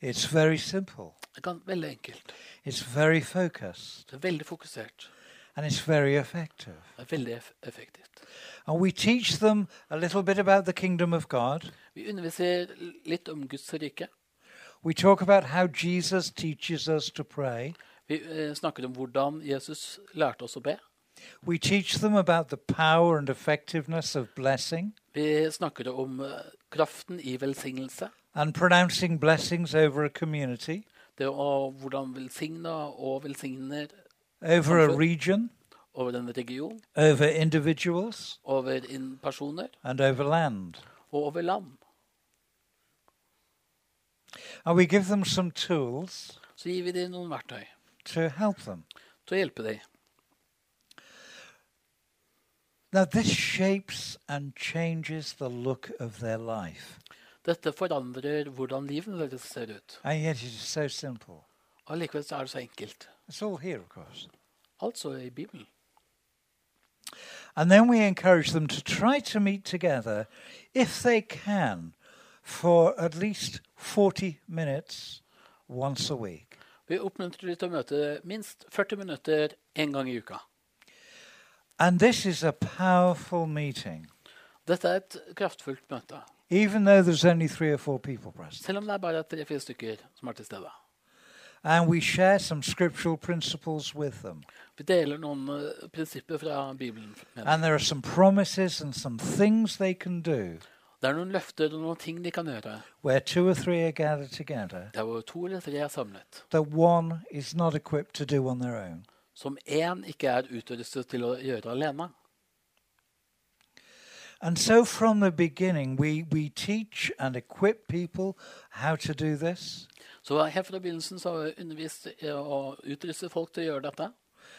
B: It's very simple.
C: Det kan Veldig enkelt.
B: It's very focused,
C: Det er veldig fokusert.
B: and it's very effective.
C: Det er veldig eff- effektivt.
B: And we teach them a little bit about the kingdom of God.
C: Vi underviser l- litt om Guds rike.
B: We talk about how Jesus teaches us to pray.
C: Vi eh, snakker om hvordan Jesus lærte oss å be.
B: We teach them about the power and effectiveness of blessing
C: Vi snakker om eh, kraften i velsignelse.
B: and pronouncing blessings over a community,
C: Det å hvordan velsigne og velsigner
B: over a
C: Comfort.
B: region,
C: over en region,
B: over individuals,
C: over inn- personer
B: and over land.
C: og over land.
B: And we give them some tools
C: Så gir vi dem noen verktøy
B: to help them.
C: til å hjelpe dem.
B: Now, this shapes and changes the look of their life.
C: Dette forandrer hvordan livet deres ser ut.
B: And yet, it is so simple.
C: Allikevel så er det så enkelt.
B: It's all here, of course.
C: Altså i Bibelen.
B: And then we encourage them to try to meet together, if they can, for at least 40 minutes once a week.
C: Vi oppmuntrer dem til å møte minst 40 minutter én gang i uka.
B: And this is a powerful meeting,
C: Dette er et kraftfullt møte,
B: even though there's only three or four people present.
C: selv om det er bare tre-fire stykker som er til stede.
B: And we share some scriptural principles with them.
C: Vi deler noen eh, prinsipper fra Bibelen. Med. dem.
B: And there are some promises and some things they can do
C: Det er noen løfter og noen ting de kan gjøre
B: where two or three are gathered together
C: der hvor to eller tre er samlet,
B: that one is not equipped to do on their own.
C: som én ikke er utrustet til å gjøre alene.
B: And so from the beginning, we, we teach and equip people how to do this.
C: Så helt fra begynnelsen så har vi undervist eh, og utrustet folk til å gjøre dette.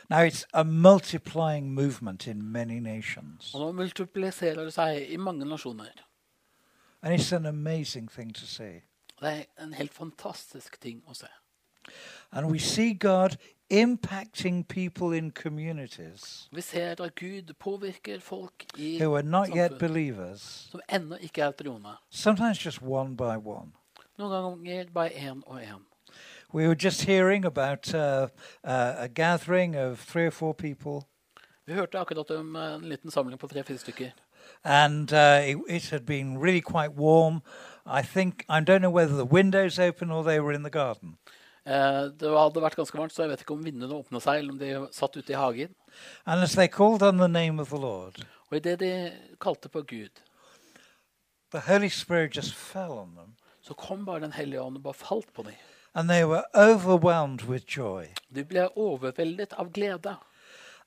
B: Now, it's a multiplying movement in many nations,
C: Og nå multipliserer det seg i mange nasjoner.
B: and it's an amazing thing to see.
C: Det er en helt fantastisk ting å se.
B: And we see God impacting people in communities
C: Vi ser at Gud påvirker folk i
B: who are not yet
C: samfunn
B: believers,
C: som ennå ikke er troende.
B: sometimes just one by one.
C: Noen ganger bare én og én.
B: We were just hearing about uh, uh, a gathering of three or four people,
C: Vi hørte akkurat om eh, en liten samling på tre-fire stykker.
B: and uh, it, it had been really quite warm. I think, I don't know whether the windows open or they were in the garden.
C: Eh, Det hadde vært ganske varmt, så jeg vet ikke om vinduene åpna seg, eller om de satt ute i hagen.
B: And as they called on the name of the Lord,
C: Og idet de kalte på Gud,
B: the Holy Spirit just fell on them,
C: så kom bare Den hellige ånd og bare falt på dem.
B: and they were overwhelmed with joy.
C: De ble overveldet av glede.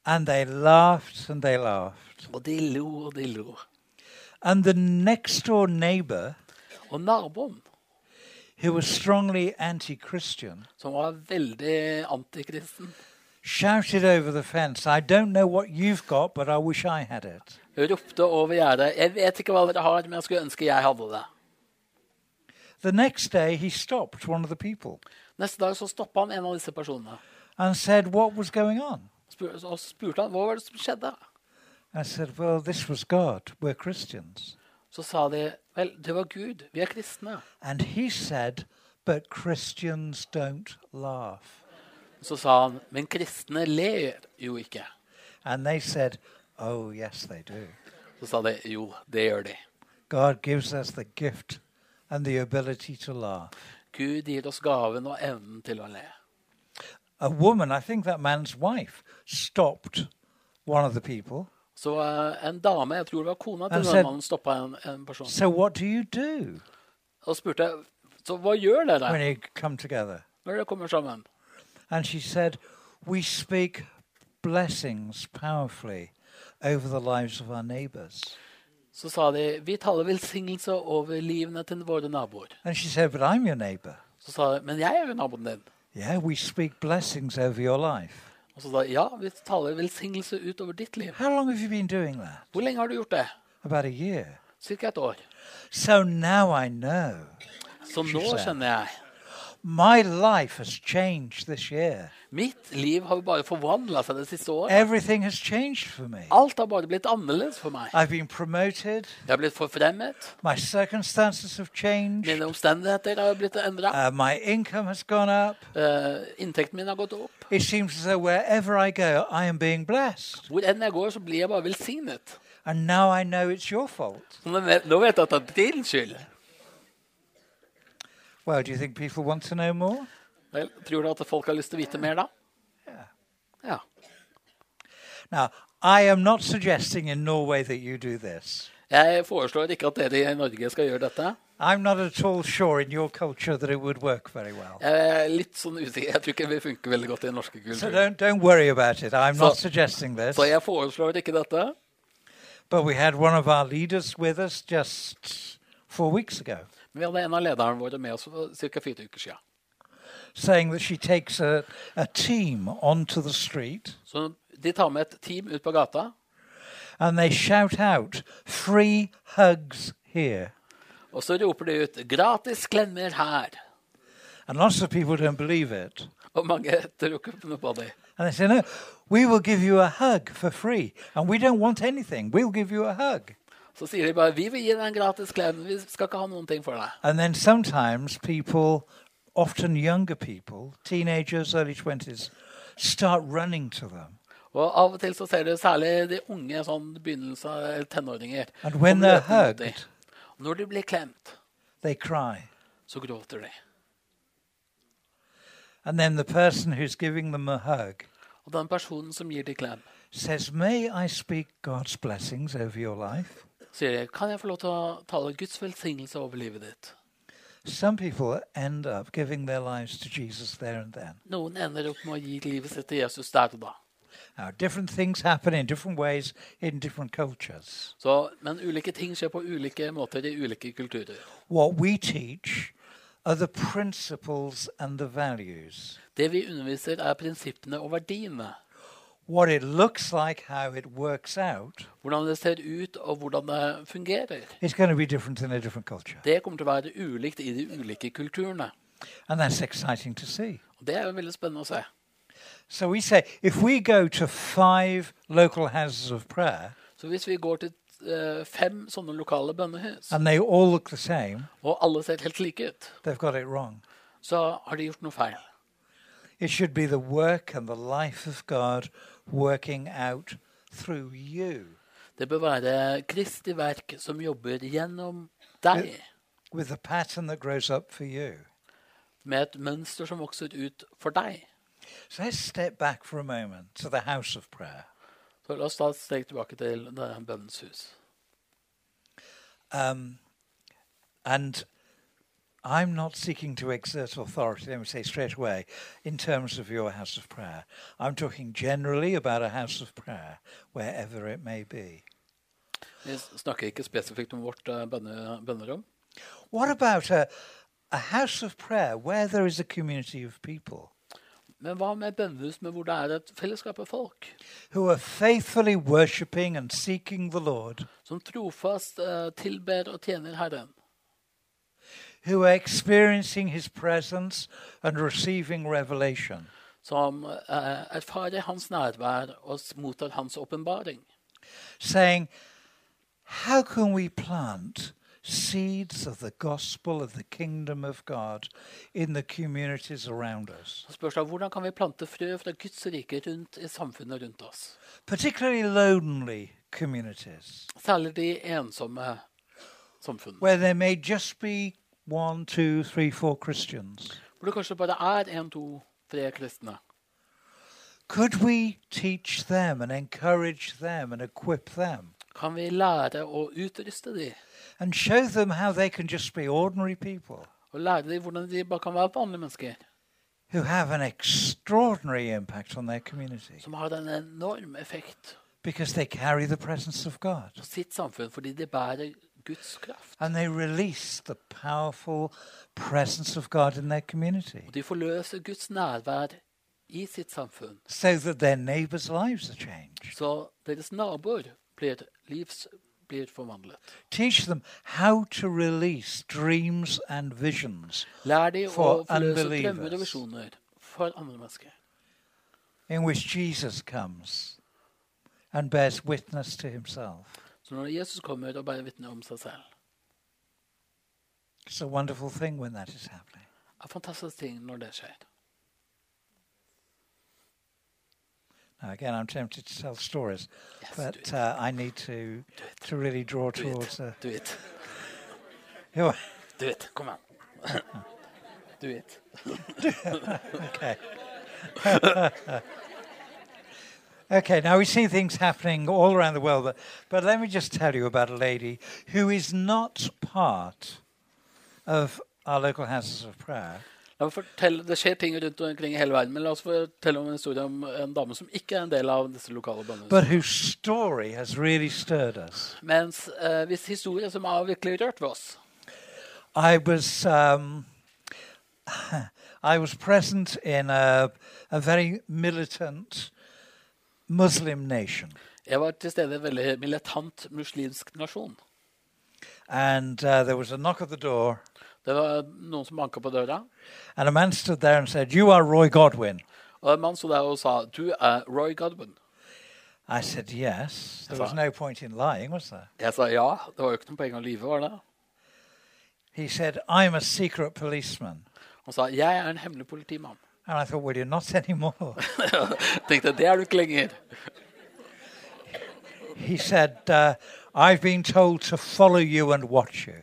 B: And they laughed and they laughed.
C: Og de lo og de lo.
B: And the next door neighbor,
C: Og naboen,
B: who was strongly anti Christian,
C: som var veldig antikristen,
B: shouted over the fence, I don't know what you've got, but I wish I had it.
C: ropte over gjerdet 'Jeg vet ikke hva dere har, men jeg skulle ønske jeg hadde det'.
B: The next day, he stopped one of the people
C: Neste dag så stoppa han en av disse personene
B: and said, What was going on?
C: Spur- og spurte han, hva var det som skjedde.
B: I said, Well, this was God. We're Christians.
C: Så sa de 'Vel, det var Gud. Vi er kristne'.
B: And he said, But Christians don't laugh.
C: Så sa han 'Men kristne ler jo ikke'.
B: And they said, Oh, yes, they do.
C: Så sa de 'Jo, det gjør de'.
B: God gives us the gift and the ability to laugh.
C: Gud gir oss gaven og evnen til å le.
B: A woman, I think that man's wife, stopped one of the people
C: Så eh, en dame, jeg tror det var kona til
B: Han
C: den
B: said-
C: mannen, stoppa en, en person
B: So what do you do
C: og spurte Så hva gjør dere
B: when you come together?
C: når dere kommer sammen?
B: And she said, We speak blessings powerfully over the lives of our neighbors.
C: Så sa de vi taler velsignelse over livene til våre naboer.
B: And she said, But I'm your neighbor.
C: Så sa de men jeg er jo naboen din.
B: Yeah, we speak blessings over your life.
C: Og så sa de ja, vi taler velsignelse utover ditt liv.
B: How long have you been doing that?
C: Hvor lenge har du gjort det?
B: About a year.
C: Cirka et år.
B: So now I know.
C: Så nå
B: Skyld seg.
C: skjønner jeg.
B: My life has changed this year.
C: Mitt liv har jo bare forvandla seg det siste året.
B: Everything has changed for me.
C: Alt har bare blitt annerledes for meg.
B: I've been promoted.
C: Jeg har blitt forfremmet.
B: My circumstances have changed.
C: Mine omstendigheter har blitt endra.
B: Uh, my income has gone up.
C: inntekten min har gått opp.
B: It seems as though wherever I go, I am being blessed.
C: Hvor enn jeg går, så blir jeg bare velsignet.
B: And now I know it's your fault.
C: Så Nå vet nå vet jeg at det er din skyld.
B: Well, do you think people want to know more?
C: Vel, tror du at folk har lyst til å vite mer da? Ja.
B: Now, I am not suggesting in Norway that you do this.
C: Jeg foreslår ikke at dere i Norge skal gjøre dette.
B: I'm not at all sure in your culture that it would work very well.
C: Jeg er litt sånn usikker. Jeg tror ikke det funker veldig godt i den norske
B: So
C: kulturen.
B: don't don't worry about it. I'm not
C: So-
B: suggesting this.
C: Så jeg foreslår ikke dette.
B: But we had one of our leaders with us just four weeks ago,
C: Men vi hadde en av lederne våre med oss for ca. fire uker siden.
B: saying that she takes a, a team onto the street
C: Så de tar med et team ut på gata,
B: and they shout out, "Free hugs here!"
C: og så roper de ut 'gratis klemmer her'.
B: And lots of people don't believe it.
C: Og mange tror ikke noe på det.
B: And they say, No, we will give you a hug for free. And we don't want anything. We'll give you a hug.
C: Så sier de bare 'Vi vil gi deg en gratis klem. Vi skal ikke ha noen ting for deg'.
B: And then sometimes people, often younger people, teenagers, early 20s, start running to them.
C: Og av og til så ser du særlig de unge sånn begynnelse av tenåringer.
B: And when
C: som
B: they're
C: løper mot de.
B: hugged-
C: Og Når de blir klemt,
B: They cry.
C: så gråter de.
B: And then the person who's giving them a hug
C: Og den personen som gir de klem,
B: says, May I speak God's blessings over your life?
C: sier de 'Kan jeg få lov til å tale Guds velsignelse over livet ditt'?
B: Some people end up giving their lives to Jesus there and then.
C: Noen ender opp med å gi livet sitt til Jesus der og da.
B: Now, different things happen in different ways in different cultures.
C: Så, men ulike ting skjer på ulike måter i ulike kulturer.
B: What we teach are the principles and the values.
C: Det vi underviser, er prinsippene og verdiene.
B: What it looks like, how it works out,
C: Hvordan det ser ut, og hvordan det fungerer.
B: is going to be different in a different culture.
C: Det kommer til å være ulikt i de ulike kulturene.
B: And that's exciting to see.
C: Og Det er jo veldig spennende å se.
B: So we say if we go to five local houses of prayer
C: Så hvis vi går til eh, fem sånne lokale bønnehus,
B: and they all look the same,
C: og alle ser helt like ut,
B: they've got it wrong.
C: så har de gjort noe feil.
B: It should be the work and the life of God working out through you
C: Det bør være Kristi verk som jobber gjennom deg,
B: with a pattern that grows up for you.
C: med et mønster som vokser ut for deg.
B: So let's step back for a moment to the house of prayer.
C: Så la oss ta et steg tilbake til det bønnens hus.
B: Um, and I'm not seeking to exert authority, let me say straight away, in terms of your house of prayer. I'm talking generally about a house of prayer, wherever it may be.
C: Vi snakker ikke spesifikt om vårt eh, bønne, bønnerom.
B: What about a, a house of prayer where there is a community of people
C: Men hva med bønnehus med hvor det er et fellesskap av folk
B: who are faithfully worshipping and seeking the Lord,
C: som trofast eh, tilber og tjener Herren?
B: who are experiencing His presence and receiving revelation?
C: Som eh, erfarer hans nærvær og s- mottar hans åpenbaring.
B: saying, How can we plant seeds of the gospel of the kingdom of God in the communities around us,
C: Så spørs det hvordan kan vi plante frø fra Guds rike rundt i samfunnet rundt oss?
B: particularly lonely communities,
C: Særlig de ensomme samfunnene.
B: where there may just be one, two, three, four Christians?
C: Hvor det kanskje bare er én, to, tre kristne.
B: Could we teach them and encourage them and equip them
C: Kan vi lære å utruste de?
B: and show them how they can just be ordinary people
C: Og lære de hvordan de bare kan være vanlige mennesker?
B: who have an extraordinary impact on their community
C: Som har en enorm effekt
B: because they carry the presence of God?
C: på sitt samfunn fordi de bærer Guds kraft.
B: and they release the powerful presence of God in their community
C: Og de forløser Guds nærvær i sitt samfunn.
B: so that their neighbors' lives are changed.
C: Så deres naboer blir livs blir forvandlet.
B: Teach them how to release dreams and visions
C: Lær de å
B: For
C: forløse
B: unbelievers.
C: drømmer og visjoner for andre mennesker.
B: in which Jesus comes and bears witness to himself.
C: Så når Jesus kommer og bærer vitne om seg selv,
B: It's a wonderful thing when that is happening.
C: er en fantastisk ting når det skjer.
B: Now, again, I'm tempted to tell stories,
C: Yes, do
B: but
C: it.
B: uh, I need to, to really draw
C: Do it.
B: towards. A,
C: Do it.
B: Oh,
C: Do it. Kom an. Do it.
B: okay. okay, now we see things happening all around the world, but, but let me just tell you about a lady who is not part of our local houses of prayer,
C: La meg fortelle, Det skjer ting rundt omkring i hele verden, men la oss fortelle om en historie om en dame som ikke er en del av disse lokale bøndene.
B: but whose story has really stirred us.
C: Mens eh, hvis historie som har virkelig rørt ved oss
B: I was. Um, I was present in a, a very militant Muslim nation.
C: Jeg var til stede i en veldig militant muslimsk nasjon.
B: And uh, there was a knock at the door,
C: Det var noen som banka på døra.
B: And a man stood there and said, You are Roy Godwin.
C: Og en mann sto der og sa 'Du er Roy Godwin'.
B: I said, Yes. There was no point in lying, was there?
C: Jeg sa ja. Det var jo ikke noe poeng å lyve, var det?
B: He said, I'm a secret policeman.
C: Han sa 'Jeg er en hemmelig politimann'.
B: And I thought, Well, you're not anymore.
C: Tenkte det er du ikke lenger.
B: he said, uh, I've been told to follow you and watch you.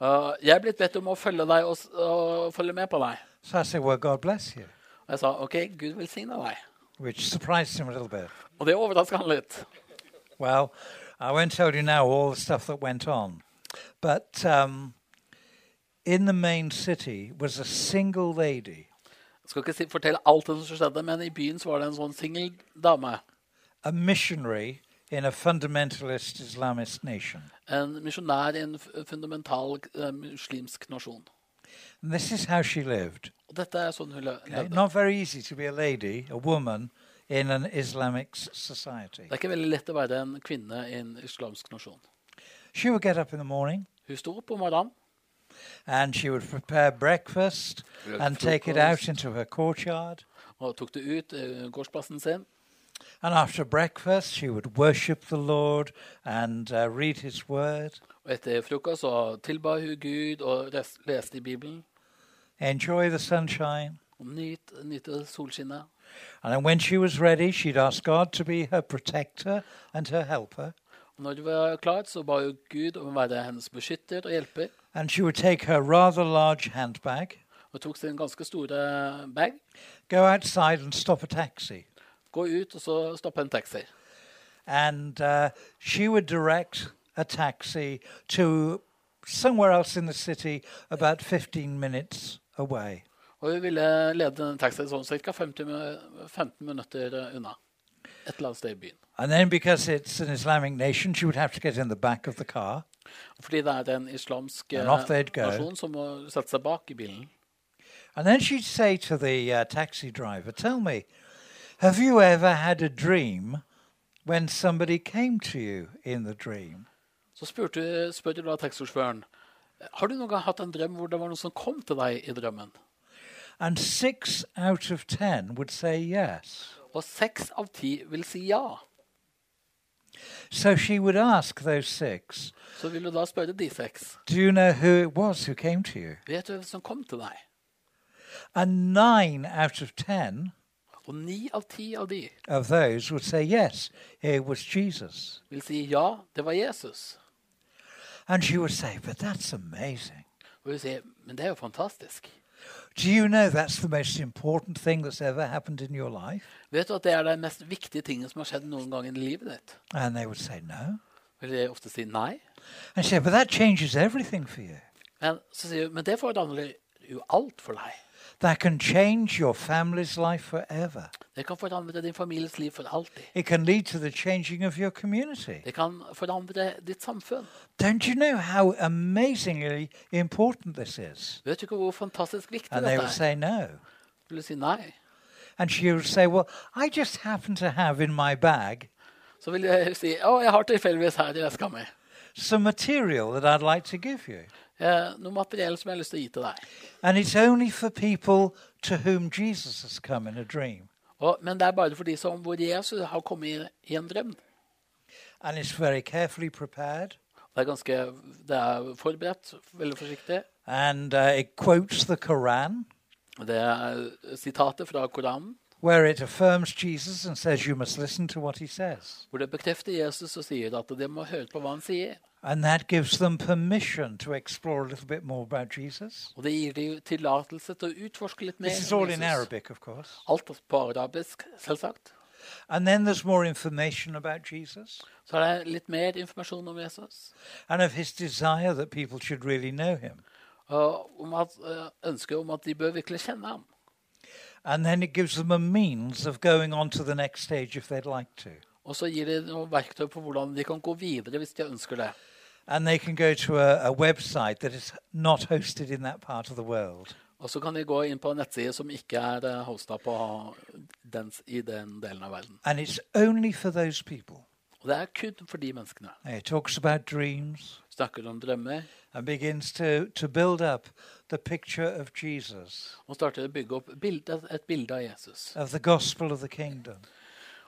C: Eh, jeg er blitt bedt om å følge deg og, s- og følge med på deg.
B: So I said, Well, God bless you,
C: Og jeg sa OK, Gud velsigne deg.
B: which surprised him a little bit.
C: Og det overraska han litt.
B: Well, I won't tell you now all the stuff that went on, but um, in the main city was a single lady,
C: Jeg skal ikke si, fortelle alt det som skjedde, men i byen så var det en sånn singel dame.
B: a missionary in a fundamentalist Islamist nation.
C: En misjonær i en f- fundamental eh, muslimsk nasjon.
B: And this is how she lived.
C: Og dette er sånn hun le-
B: okay?
C: levde.
B: Not very easy to be a lady, a woman, in an Islamic s- society.
C: Det er ikke veldig lett å være en kvinne i en islamsk nasjon.
B: She would get up in the morning
C: Hun sto opp om morgenen.
B: and she would prepare breakfast
C: Yeah,
B: and
C: fruit
B: take it
C: balls.
B: out into her courtyard.
C: og tok det ut eh, gårdsplassen sin.
B: And after breakfast, she would worship the Lord and uh, read his word,
C: Og etter frokost så tilba hun Gud og res- leste i Bibelen.
B: enjoy the sunshine.
C: Og nyt, nyte solskinnet.
B: And then when she was ready, she'd ask God to be her protector and her helper.
C: Og når det var klart, så ba hun Gud om å være hennes beskytter og hjelper.
B: And she would take her rather large handbag,
C: Og tok sin ganske store bag,
B: go outside and stop a taxi.
C: gå ut og så stoppe en taxi.
B: And uh, she would direct a taxi to somewhere else in the city about 15 minutes away.
C: Og hun ville lede denne taxien sånn ca. 50, mi- 15 minutter eh, unna. Et eller annet sted i byen.
B: And then, because it's an Islamic nation, she would have to get in the back of the car.
C: Fordi det er en islamsk eh,
B: And off they'd go.
C: nasjon som må sette seg bak i bilen.
B: And then she'd say to the uh, taxi driver, Tell me, have you ever had a dream when somebody came to you in the dream?
C: Så spurte, spurte du da taxisjåføren har du noen gang hatt en drøm hvor det var noen som kom til deg i drømmen.
B: And six out of ten would say yes.
C: Og seks av ti vil si ja.
B: So she would ask those six,
C: Så vil du da spørre de seks.
B: Do you know who it was who came to you?
C: Vet du hvem som kom til deg?
B: And nine out of ten
C: Og ni av ti av de
B: of those would say yes, it was Jesus.
C: vil si ja, det var Jesus.
B: And she would say, But that's amazing.
C: Og du sier, men det er jo fantastisk.
B: Do you know that's the most important thing that's ever happened in your life?
C: Vet du at det er den mest viktige tingen som har skjedd noen gang i livet ditt?
B: And they would say, No.
C: Vil de ofte si nei?
B: And she said, But that changes everything for you.
C: Men så sier hun, men det forandrer jo alt for deg.
B: That can change your family's life forever.
C: Det kan forandre din families liv for alltid.
B: It can lead to the changing of your community.
C: Det kan forandre ditt samfunn.
B: Don't you know how amazingly important this is?
C: Vet du ikke hvor fantastisk viktig
B: And they
C: dette
B: would
C: er?
B: say no.
C: Vil du si nei?
B: And she would say, Well, I just happen to have in my bag
C: Så vil jeg si å, jeg har tilfeldigvis her i veska mi
B: some material that I'd like to give you.
C: eh, noe materiell som jeg har lyst til å gi til deg.
B: And it's only for people to whom Jesus has come in a dream.
C: Og, men det er bare for de som hvor Jesus har kommet i, i en drøm.
B: And it's very carefully prepared.
C: Det er ganske det er forberedt, veldig forsiktig.
B: And uh, it quotes the Quran.
C: Det er sitater fra Koranen
B: where it affirms Jesus and says you must listen to what he says.
C: hvor det bekrefter Jesus og sier at de må høre på hva han sier.
B: And that gives them permission to explore a little bit more about Jesus.
C: Og det gir de tillatelse til å utforske litt mer.
B: This is
C: om
B: all in
C: Jesus.
B: Arabic, of course.
C: Alt på arabisk, selvsagt.
B: And then there's more information about Jesus
C: Så er det litt mer informasjon om Jesus.
B: and of his desire that people should really know him.
C: Og om at, eh, ønsket om at de bør virkelig kjenne ham.
B: And then it gives them a means of going on to the next stage if they'd like to.
C: Og så gir de noen verktøy på hvordan de kan gå videre hvis de ønsker det.
B: And they can go to a, a website that is not hosted in that part of the world.
C: Og så kan de gå inn på en nettside som ikke er eh, hosta på den, i den delen av verden.
B: And it's only for those people.
C: Og det er kun for de menneskene.
B: He talks about dreams
C: Snakker om drømmer
B: and begins to, to build up the picture of Jesus,
C: og starter å bygge opp bilde, et bilde av Jesus.
B: of the gospel of the kingdom,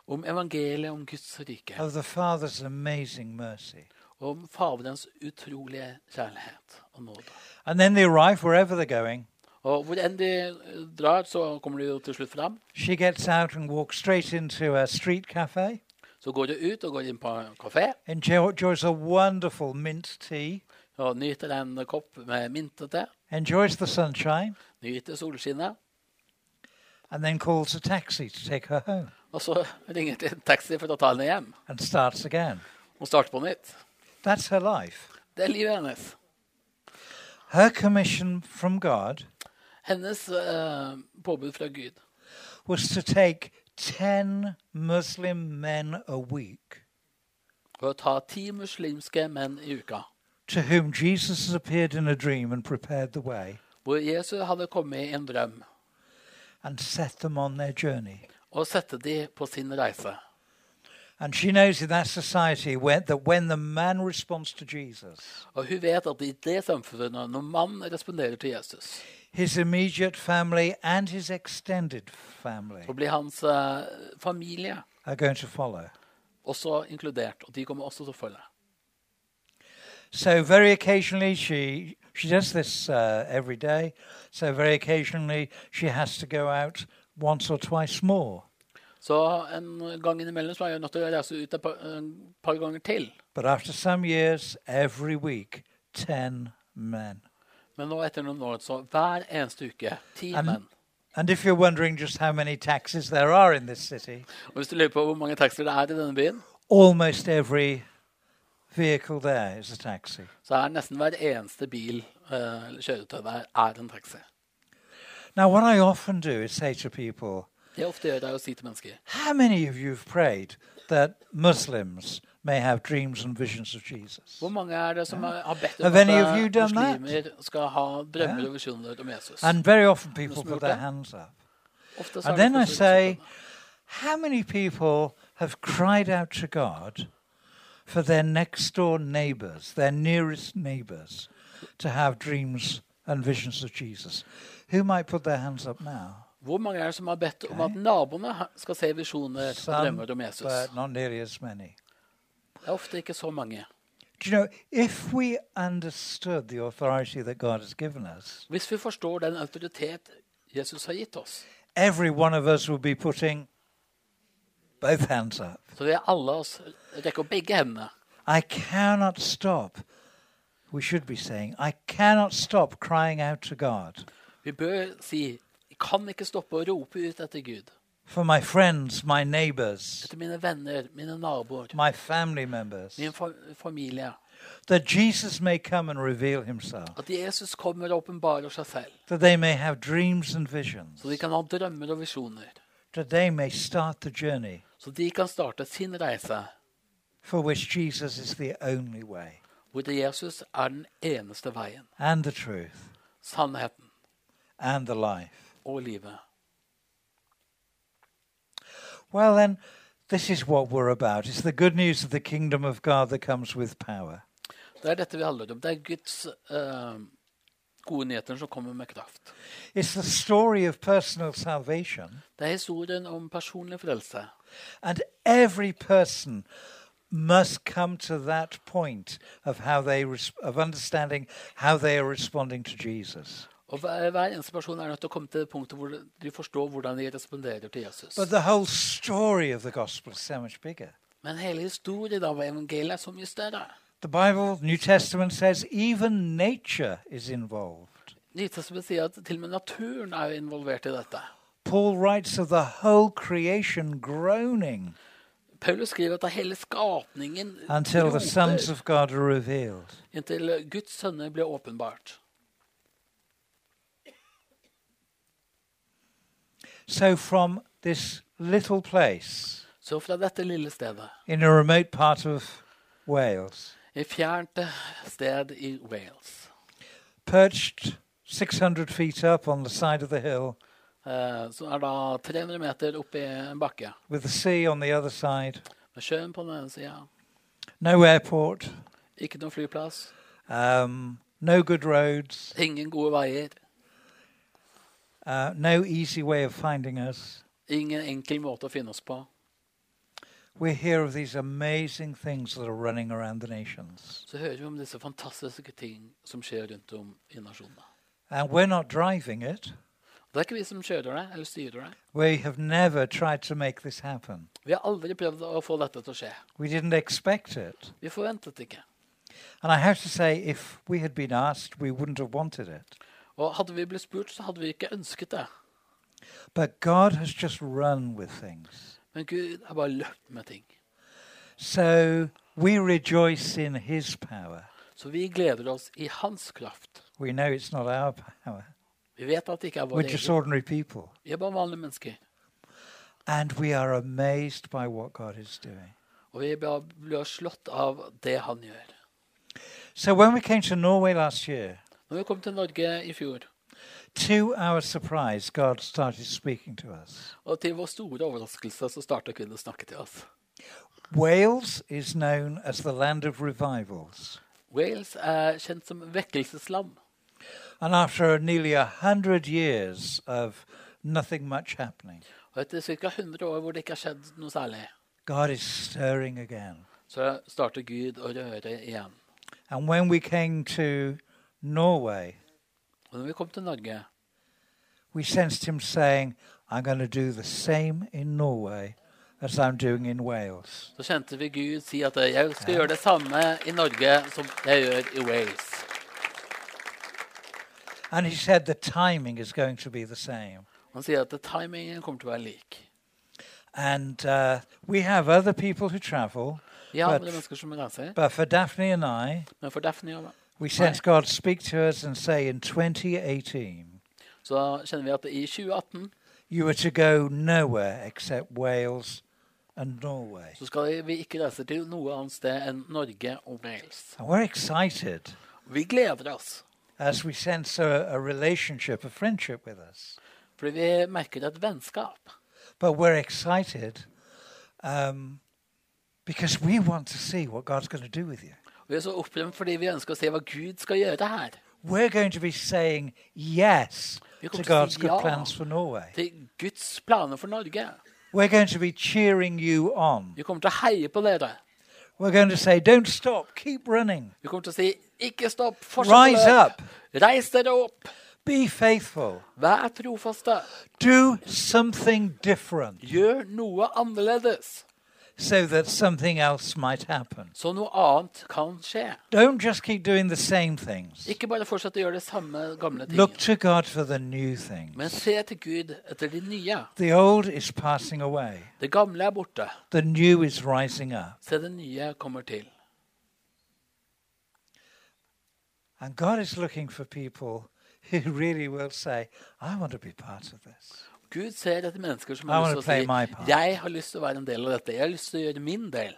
C: Om evangeliet, om Guds rike.
B: of the Father's amazing mercy.
C: Om Faderens utrolige kjærlighet og nåde.
B: And then they arrive wherever they're going.
C: Og hvor enn de eh, drar, så kommer de jo til slutt fram.
B: She gets out and walks straight into a street cafe,
C: Så går de ut og går inn på en kafé
B: enjo- enjoys a wonderful mint tea,
C: og nyter en kopp med myntete.
B: enjoys the sunshine,
C: Nyter solskinnet.
B: and then calls a taxi to take her home
C: Og så ringer de en taxi for å ta henne hjem
B: and starts again.
C: og starte på nytt.
B: That's her life.
C: Det er livet hennes.
B: Her commission from God
C: Hennes eh, påbud fra Gud
B: was to take 10 Muslim men a week
C: var å ta ti muslimske menn i uka,
B: to whom Jesus had appeared in a dream and prepared the way
C: hvor Jesus hadde kommet i en drøm,
B: and set them on their journey.
C: og sette de på sin reise.
B: And she knows in that society where, that when the man responds to Jesus,
C: Og hun vet at i det samfunnet, når mannen responderer til Jesus,
B: his immediate family and his extended family
C: så blir hans eh, familie
B: are going to follow.
C: også inkludert, og de kommer også til å følge.
B: So very occasionally she she does this uh, every day. So very occasionally she has to go out once or twice more.
C: Så en gang innimellom så er hun nødt til å reise ut et par, en par ganger til.
B: But after some years, every week, 10 men.
C: Men nå etter noen år, så hver eneste uke, ti
B: And-
C: menn.
B: And if you're wondering just how many taxis there are in this city,
C: Og hvis du lurer på hvor mange taxier det er i denne byen,
B: almost every vehicle there is a taxi.
C: så er nesten hver eneste bil eh, eller kjøretøy der er en taxi.
B: Now, what I often do is say to people,
C: Det jeg ofte gjør, det er å si til mennesker
B: How many of you have prayed that Muslims may have dreams and visions of Jesus?
C: Hvor mange er det som har- har bedt om
B: Have
C: at
B: any of
C: eh,
B: you done that?
C: muslimer skal ha drømmer og visjoner om Jesus?
B: And very often people
C: Muslim
B: put their
C: prayer?
B: hands up.
C: Ofte så er
B: And
C: det
B: then I
C: folk som sånn,
B: say,
C: gjør det.
B: How many people have cried out to God for their next door neighbors, their nearest neighbors, to have dreams and visions of Jesus? Who might put their hands up now?
C: Hvor mange er det som har bedt om at naboene ha- skal se visjoner og
B: Some,
C: drømmer om Jesus?
B: but not nearly as many.
C: Det er ofte ikke så mange.
B: Do you know, if we understood the authority that God has given us,
C: Hvis vi forstår den autoritet Jesus har gitt oss,
B: every one of us would be putting both hands up.
C: så vil alle oss rekke opp begge hendene.
B: I cannot stop. We should be saying, I cannot stop crying out to God
C: Vi bør si jeg kan ikke stoppe å rope ut etter Gud.
B: for my friends, my neighbors,
C: Etter mine venner, mine naboer,
B: my family members,
C: min fa- familie.
B: that Jesus may come and reveal himself,
C: At Jesus kommer og åpenbarer seg selv,
B: that they may have dreams and visions,
C: så de kan ha drømmer og visjoner.
B: that they may start the journey
C: Så de kan starte sin reise,
B: for which Jesus is the only way
C: hvor Jesus er den eneste veien,
B: and the truth
C: sannheten
B: and the life.
C: og livet.
B: Well, then, this is what we're about. It's the good news of the kingdom of God that comes with power.
C: Det er dette vi handler om. Det er Guds eh, gode nyheter som kommer med kraft.
B: It's the story of personal salvation.
C: Det er historien om personlig frelse.
B: And every person must come to that point of how they res- of understanding how they are responding to Jesus.
C: Og hver, hver eneste person er nødt til å komme til det punktet hvor de forstår hvordan de responderer til Jesus.
B: But the whole story of the gospel is so much bigger.
C: Men hele historien av evangeliet er så mye større.
B: The Bible, New Testament says even nature is involved.
C: Nytestamentet sier at til og med naturen er jo involvert i dette.
B: Paul writes of the whole creation groaning
C: Paulus skriver at det er hele skapningen
B: until the
C: roper
B: sons of God are revealed.
C: inntil Guds sønner blir åpenbart.
B: So from this little place
C: Så fra dette lille stedet,
B: in a remote part of Wales,
C: et fjernt sted i Wales,
B: perched 600 feet up on the side of the hill
C: eh, som er da 300 meter opp i en bakke,
B: with the sea on the other side,
C: Med sjøen på den ene sida,
B: no airport,
C: ikke noen flyplass,
B: um, no good roads,
C: ingen gode veier,
B: uh, no easy way of finding us.
C: ingen enkel måte å finne oss på.
B: We hear of these amazing things that are running around the nations.
C: Så hører vi om disse fantastiske ting som skjer rundt om i nasjonene.
B: And we're not driving it.
C: Det er ikke vi som kjører det, eller styrer det.
B: We have never tried to make this happen.
C: Vi har aldri prøvd å få dette til å skje.
B: We didn't expect it.
C: Vi forventet det ikke.
B: And I have to say, if we had been asked, we wouldn't have wanted it.
C: Og hadde vi blitt spurt, så hadde vi ikke ønsket det.
B: But God has just run with things.
C: Men Gud har bare løpt med ting.
B: So we rejoice in His power.
C: Så vi gleder oss i hans kraft.
B: We know it's not our power,
C: Vi vet at det ikke er
B: we're
C: vår
B: just
C: egen.
B: ordinary people.
C: Vi er bare vanlige mennesker.
B: And we are amazed by what God is doing.
C: Og vi bare blir slått av det han gjør.
B: So when we came to Norway last year,
C: Når vi kom til Norge i fjor,
B: to our surprise, God started speaking to us.
C: og til vår store overraskelse, så starta Gud å snakke til oss.
B: Wales is known as the land of revivals.
C: Wales er kjent som vekkelsesland.
B: And after nearly a hundred years of nothing much happening,
C: Og etter ca. 100 år hvor det ikke har skjedd noe særlig,
B: God is stirring again.
C: så starter Gud å røre igjen.
B: And when we came to Norway,
C: Og når vi kom til Norge,
B: we sensed him saying, I'm going to do the same in Norway as I'm doing in Wales.
C: så kjente vi Gud si at jeg skal gjøre det samme i Norge som jeg gjør i Wales.
B: And he said the timing is going to be the same.
C: Han sier at timingen kommer til å være lik.
B: And uh, we have other people who travel,
C: Vi har andre
B: But-
C: mennesker som reiser,
B: but for Daphne and I,
C: men for Daphne og meg
B: we sense God speak to us and say in 2018,
C: så kjenner vi at i 2018
B: you are to go nowhere except Wales and Norway.
C: så skal vi ikke reise til noe annet sted enn Norge og Wales.
B: And we're excited
C: Vi gleder oss,
B: as we sense a, a relationship, a friendship with us.
C: fordi vi merker et vennskap.
B: But we're excited um, because we want to see what God's going to do with you.
C: Vi er så opprømt fordi vi ønsker å se hva Gud skal gjøre her.
B: We're going to be saying yes to
C: You're going to
B: God's
C: say
B: good
C: ja.
B: plans for Norway.
C: Til Guds planer for Norge.
B: We're going to be cheering you on.
C: Vi kommer til å heie på dere.
B: We're going to say, don't stop, keep running,
C: Vi kommer til å si 'ikke stopp, fortsett
B: rise
C: å
B: up,
C: løpe'. Reis dere opp.
B: be faithful,
C: Vær trofaste.
B: do something different
C: Gjør noe annerledes,
B: so that something else might happen.
C: så noe annet kan skje.
B: Don't just keep doing the same things.
C: Ikke bare fortsett å gjøre det samme gamle
B: Look
C: tingene,
B: to God for the new things.
C: men se til Gud etter de nye.
B: The old is passing away.
C: Det gamle er borte.
B: the new is rising up.
C: Se det nye kommer til.
B: And God is looking for people who really will say, I want to be part of this.
C: Gud ser etter mennesker som
B: I
C: har
B: wanna
C: lyst
B: play
C: til
B: my
C: å
B: part.
C: si 'Jeg har lyst til å være en del av dette. Jeg har lyst til å gjøre min del'.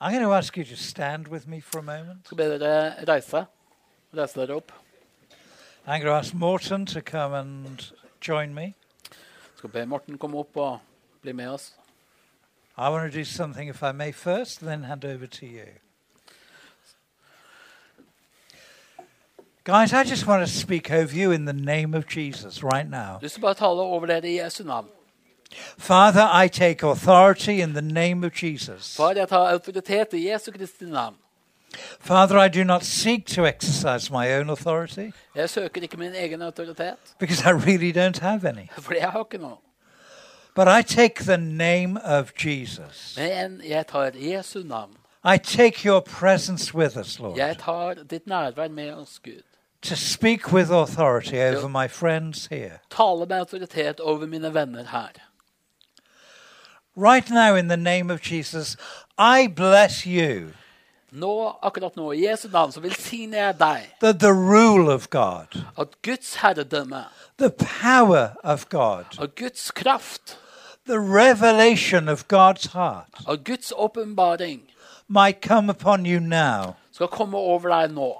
B: I'm going to ask you to stand with me for a moment.
C: Skal be dere reise. Reise dere opp.
B: I'm going to ask Morton to come and join me.
C: Skal be Morten komme opp og bli med oss.
B: I want to do something, if I may, first, then hand over to you. Guys, I just want to speak over you in the name of Jesus right now.
C: Du skal bare tale over dere i Jesu navn.
B: Father, I take authority in the name of Jesus.
C: Far, jeg tar autoritet i Jesu Kristi navn.
B: Father, I do not seek to exercise my own authority.
C: Jeg søker ikke min egen autoritet,
B: because I really don't have any.
C: for jeg har ikke noe.
B: But I take the name of Jesus.
C: Men jeg tar Jesu navn.
B: I take your presence with us, Lord,
C: Jeg tar ditt nærvær med oss, Gud.
B: to speak with authority over my friends here.
C: Tale med autoritet over mine venner her.
B: Right now, in the name of Jesus, I bless you
C: Nå, akkurat nå, i Jesu navn, så velsigner jeg deg
B: that the rule of God,
C: at Guds herredømme,
B: the power of God,
C: av Guds kraft,
B: the revelation of God's heart
C: av Guds åpenbaring
B: might come upon you now
C: skal komme over deg nå.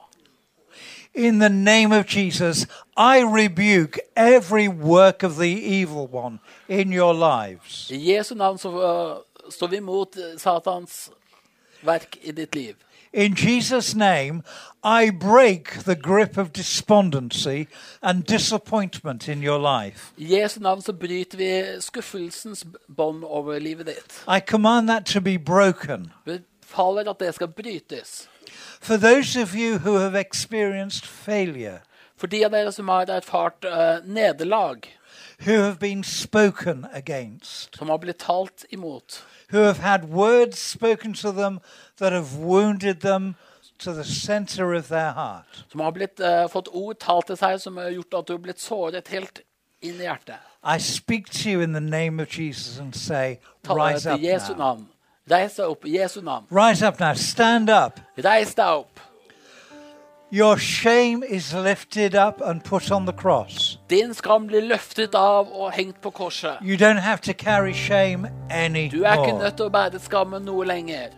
B: In the name of Jesus, I rebuke every work of the evil one in your lives.
C: I Jesu navn så øh, står vi imot eh, Satans verk i ditt liv.
B: In Jesus' name, I break the grip of despondency and disappointment in your life.
C: I Jesu navn så bryter vi skuffelsens bånd over livet ditt.
B: I command that to be broken.
C: Vi befaler at det skal brytes.
B: For those of you who have experienced failure,
C: For de av dere som har erfart eh, nederlag,
B: who have been spoken against,
C: som har blitt talt imot,
B: who have had words spoken to them that have wounded them to the center of their heart.
C: som har blitt, eh, fått ord talt til seg som har gjort at du har blitt såret helt inn i hjertet,
B: I speak to you in the name of Jesus and say,
C: taler jeg
B: Rise up
C: til Jesu
B: now.
C: navn. Reis deg opp i Jesu navn.
B: Rise up now. Stand up.
C: Reis deg opp.
B: Your shame is lifted up and put on the cross.
C: Din skam blir løftet av og hengt på korset.
B: You don't have to carry shame
C: Du er ikke
B: anymore.
C: nødt til å bære skammen noe lenger.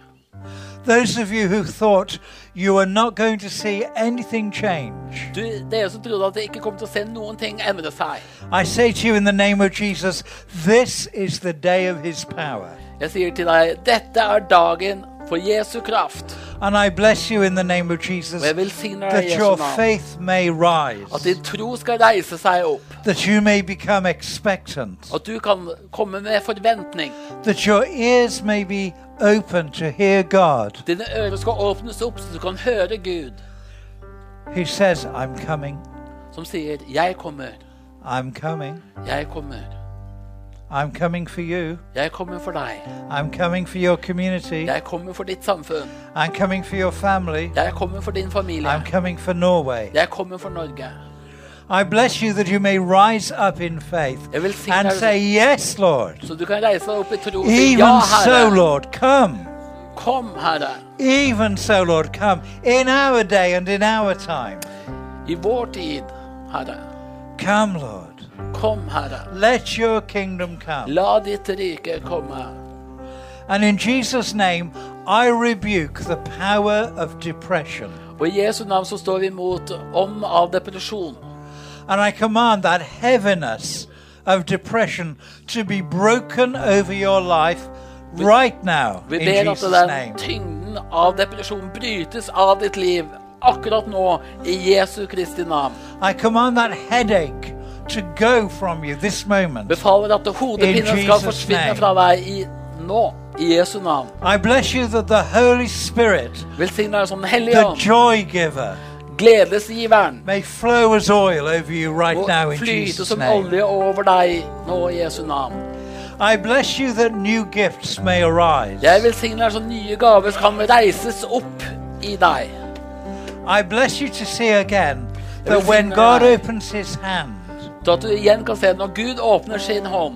B: Those of you who thought you were not going to see anything change,
C: Du, dere som trodde at dere ikke kom til å se noen ting endre seg.
B: I say to you in the name of Jesus, this is the day of his power.
C: Jeg sier til deg, dette er dagen for Jesu kraft.
B: And I bless you in the name of
C: Og jeg
B: Jesus
C: velsigner
B: that
C: deg i
B: your
C: Jesu navn.
B: faith may rise,
C: At din tro skal reise seg opp.
B: that you may become expectant,
C: At du kan komme med forventning.
B: that your ears may be open to hear God
C: Dine ører skal åpnes opp, så du kan høre Gud,
B: who says, I'm coming,
C: som sier, 'Jeg kommer,
B: I'm coming,
C: jeg kommer'.
B: I'm coming for you,
C: Jeg kommer for deg.
B: I'm coming for your community,
C: Jeg kommer for ditt samfunn.
B: I'm coming for your family,
C: Jeg kommer for din
B: I'm
C: familie.
B: coming for Norway.
C: Jeg kommer for Norge.
B: I bless you that you may rise up in faith
C: Jeg velsigner
B: and
C: deg.
B: say, Yes, Lord.
C: Så du kan reise deg opp i tro og si ja,
B: Even so,
C: Herre.
B: Lord, come.
C: Kom, Herre.
B: Even so, Lord, come. In our day and in our time.
C: I vår tid, Herre.
B: Come, Lord.
C: Kom, Herre.
B: Let your kingdom come.
C: La ditt rike komme.
B: And in Jesus' name, I rebuke the power of depression.
C: Og i Jesu navn så står vi imot ånd av depresjon.
B: And I command that heaviness of depression to be broken over your life right now.
C: Vi
B: In
C: ber at
B: Jesus'
C: den
B: name.
C: tyngden av depresjon brytes av ditt liv akkurat nå, i Jesu Kristi navn.
B: I command that headache to go from you this moment.
C: Befaler at hodepinen
B: In
C: skal
B: Jesus'
C: forsvinne
B: name.
C: fra deg i, nå, i Jesu navn.
B: I bless you that the Holy Spirit,
C: Velsign deg som Den hellige
B: the
C: ånd,
B: joy giver,
C: gledesgiveren,
B: may flow as oil over you right
C: og
B: now in
C: flyte
B: Jesus'
C: som
B: name.
C: olje over deg nå, i Jesu navn.
B: I bless you that new gifts may arise.
C: Jeg velsigner deg så nye gaver kan reises opp i deg.
B: I bless you to see again that
C: Everything
B: when God
C: that I-
B: opens his hand,
C: Så at du igjen kan se når Gud åpner sin hånd,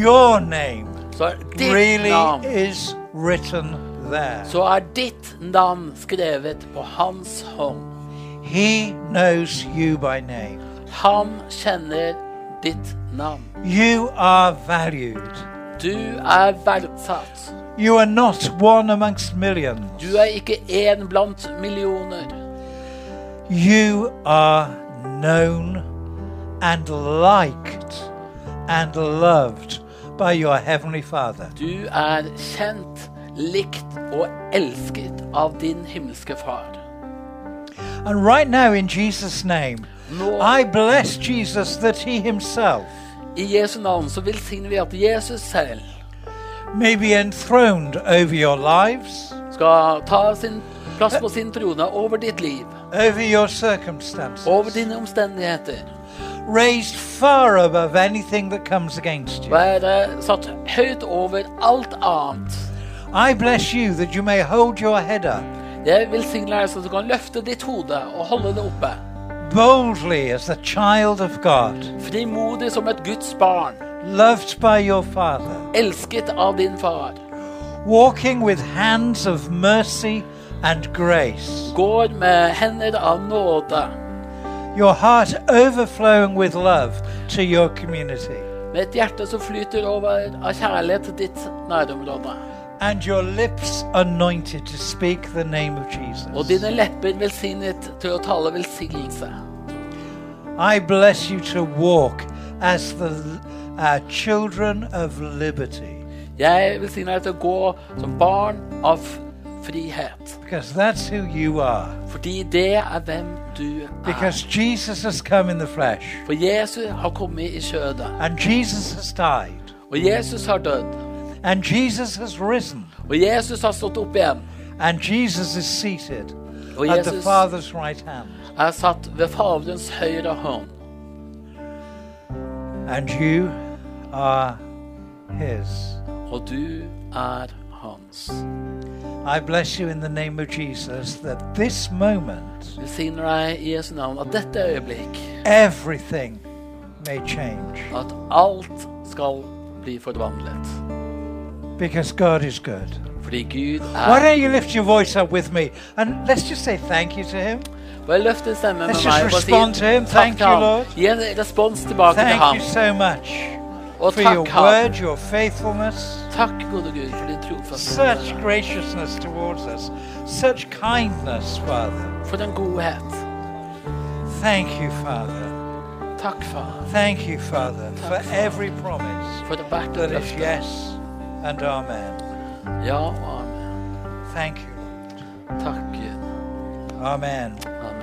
B: your name
C: så er ditt
B: really
C: navn
B: is written there.
C: Så er ditt navn skrevet på hans hånd.
B: He knows you by name.
C: Han kjenner ditt navn.
B: You are valued.
C: Du er verdsatt.
B: You are not one amongst millions.
C: Du er ikke én blant millioner.
B: You are known and liked and loved by your Heavenly Father.
C: Du er kjent, likt og elsket av din himmelske far.
B: And right now, in Jesus' name,
C: Nå
B: I bless Jesus that He Himself
C: i Jesu navn så velsigner vi at Jesus selv
B: may be enthroned over your lives,
C: skal ta sin plass på sin trone over ditt liv,
B: over your circumstances,
C: over dine omstendigheter.
B: raised far above anything that comes against you.
C: Være satt høyt over alt annet.
B: I bless you that you may hold your head up
C: Jeg velsigner deg så du kan løfte ditt hode og holde det oppe.
B: boldly as the child of God,
C: Frimodig som et Guds barn,
B: loved by your Father.
C: elsket av din far.
B: walking with hands of mercy and grace,
C: Går med hender av nåde,
B: your heart overflowing with love to your community.
C: med et hjerte som flyter over av kjærlighet til ditt nærområde.
B: and your lips anointed to speak the name of
C: og
B: Jesus.
C: dine lepper velsignet til å tale velsignelse.
B: I bless you to walk as the uh, children of liberty,
C: Jeg velsigner deg til å gå som barn av frihet.
B: because that's who you are.
C: Fordi det er hvem du er.
B: Because Jesus has come in the flesh,
C: For Jesus har kommet i kjødet.
B: and Jesus has died,
C: Og Jesus har dødd.
B: and Jesus has risen,
C: Og Jesus har stått opp igjen.
B: and Jesus is seated
C: Og
B: at the
C: Jesus
B: Father's right hand.
C: er satt ved Faderens høyre hånd.
B: and you are his.
C: Og du er hans.
B: I bless you in the name of Jesus that this moment
C: Velsigner deg i Jesu navn at dette øyeblikk,
B: everything may change
C: at alt skal bli forvandlet.
B: because God is good.
C: Fordi Gud
B: Why
C: er
B: don't you lift your voice up with me and let's just say thank you to him?
C: Bare løft en stemme med
B: Let's just
C: meg og bare si
B: respond to him.
C: takk
B: Thank
C: til
B: you,
C: ham.
B: Lord.
C: Gi en respons tilbake til
B: Thank
C: ham.
B: you so much
C: Og
B: for your
C: takk ham.
B: word, your faithfulness,
C: Takk, gode Gud, for din
B: such
C: trofasthet.
B: graciousness towards us, such kindness, Father.
C: For den godhet.
B: Thank you, Father.
C: Takk, far,
B: Thank you, Father, for every promise.
C: for det hvert
B: that
C: et
B: is
C: løfte.
B: yes and amen.
C: Ja og amen.
B: Thank you.
C: Takk, Gud.
B: Amen.
C: Amen.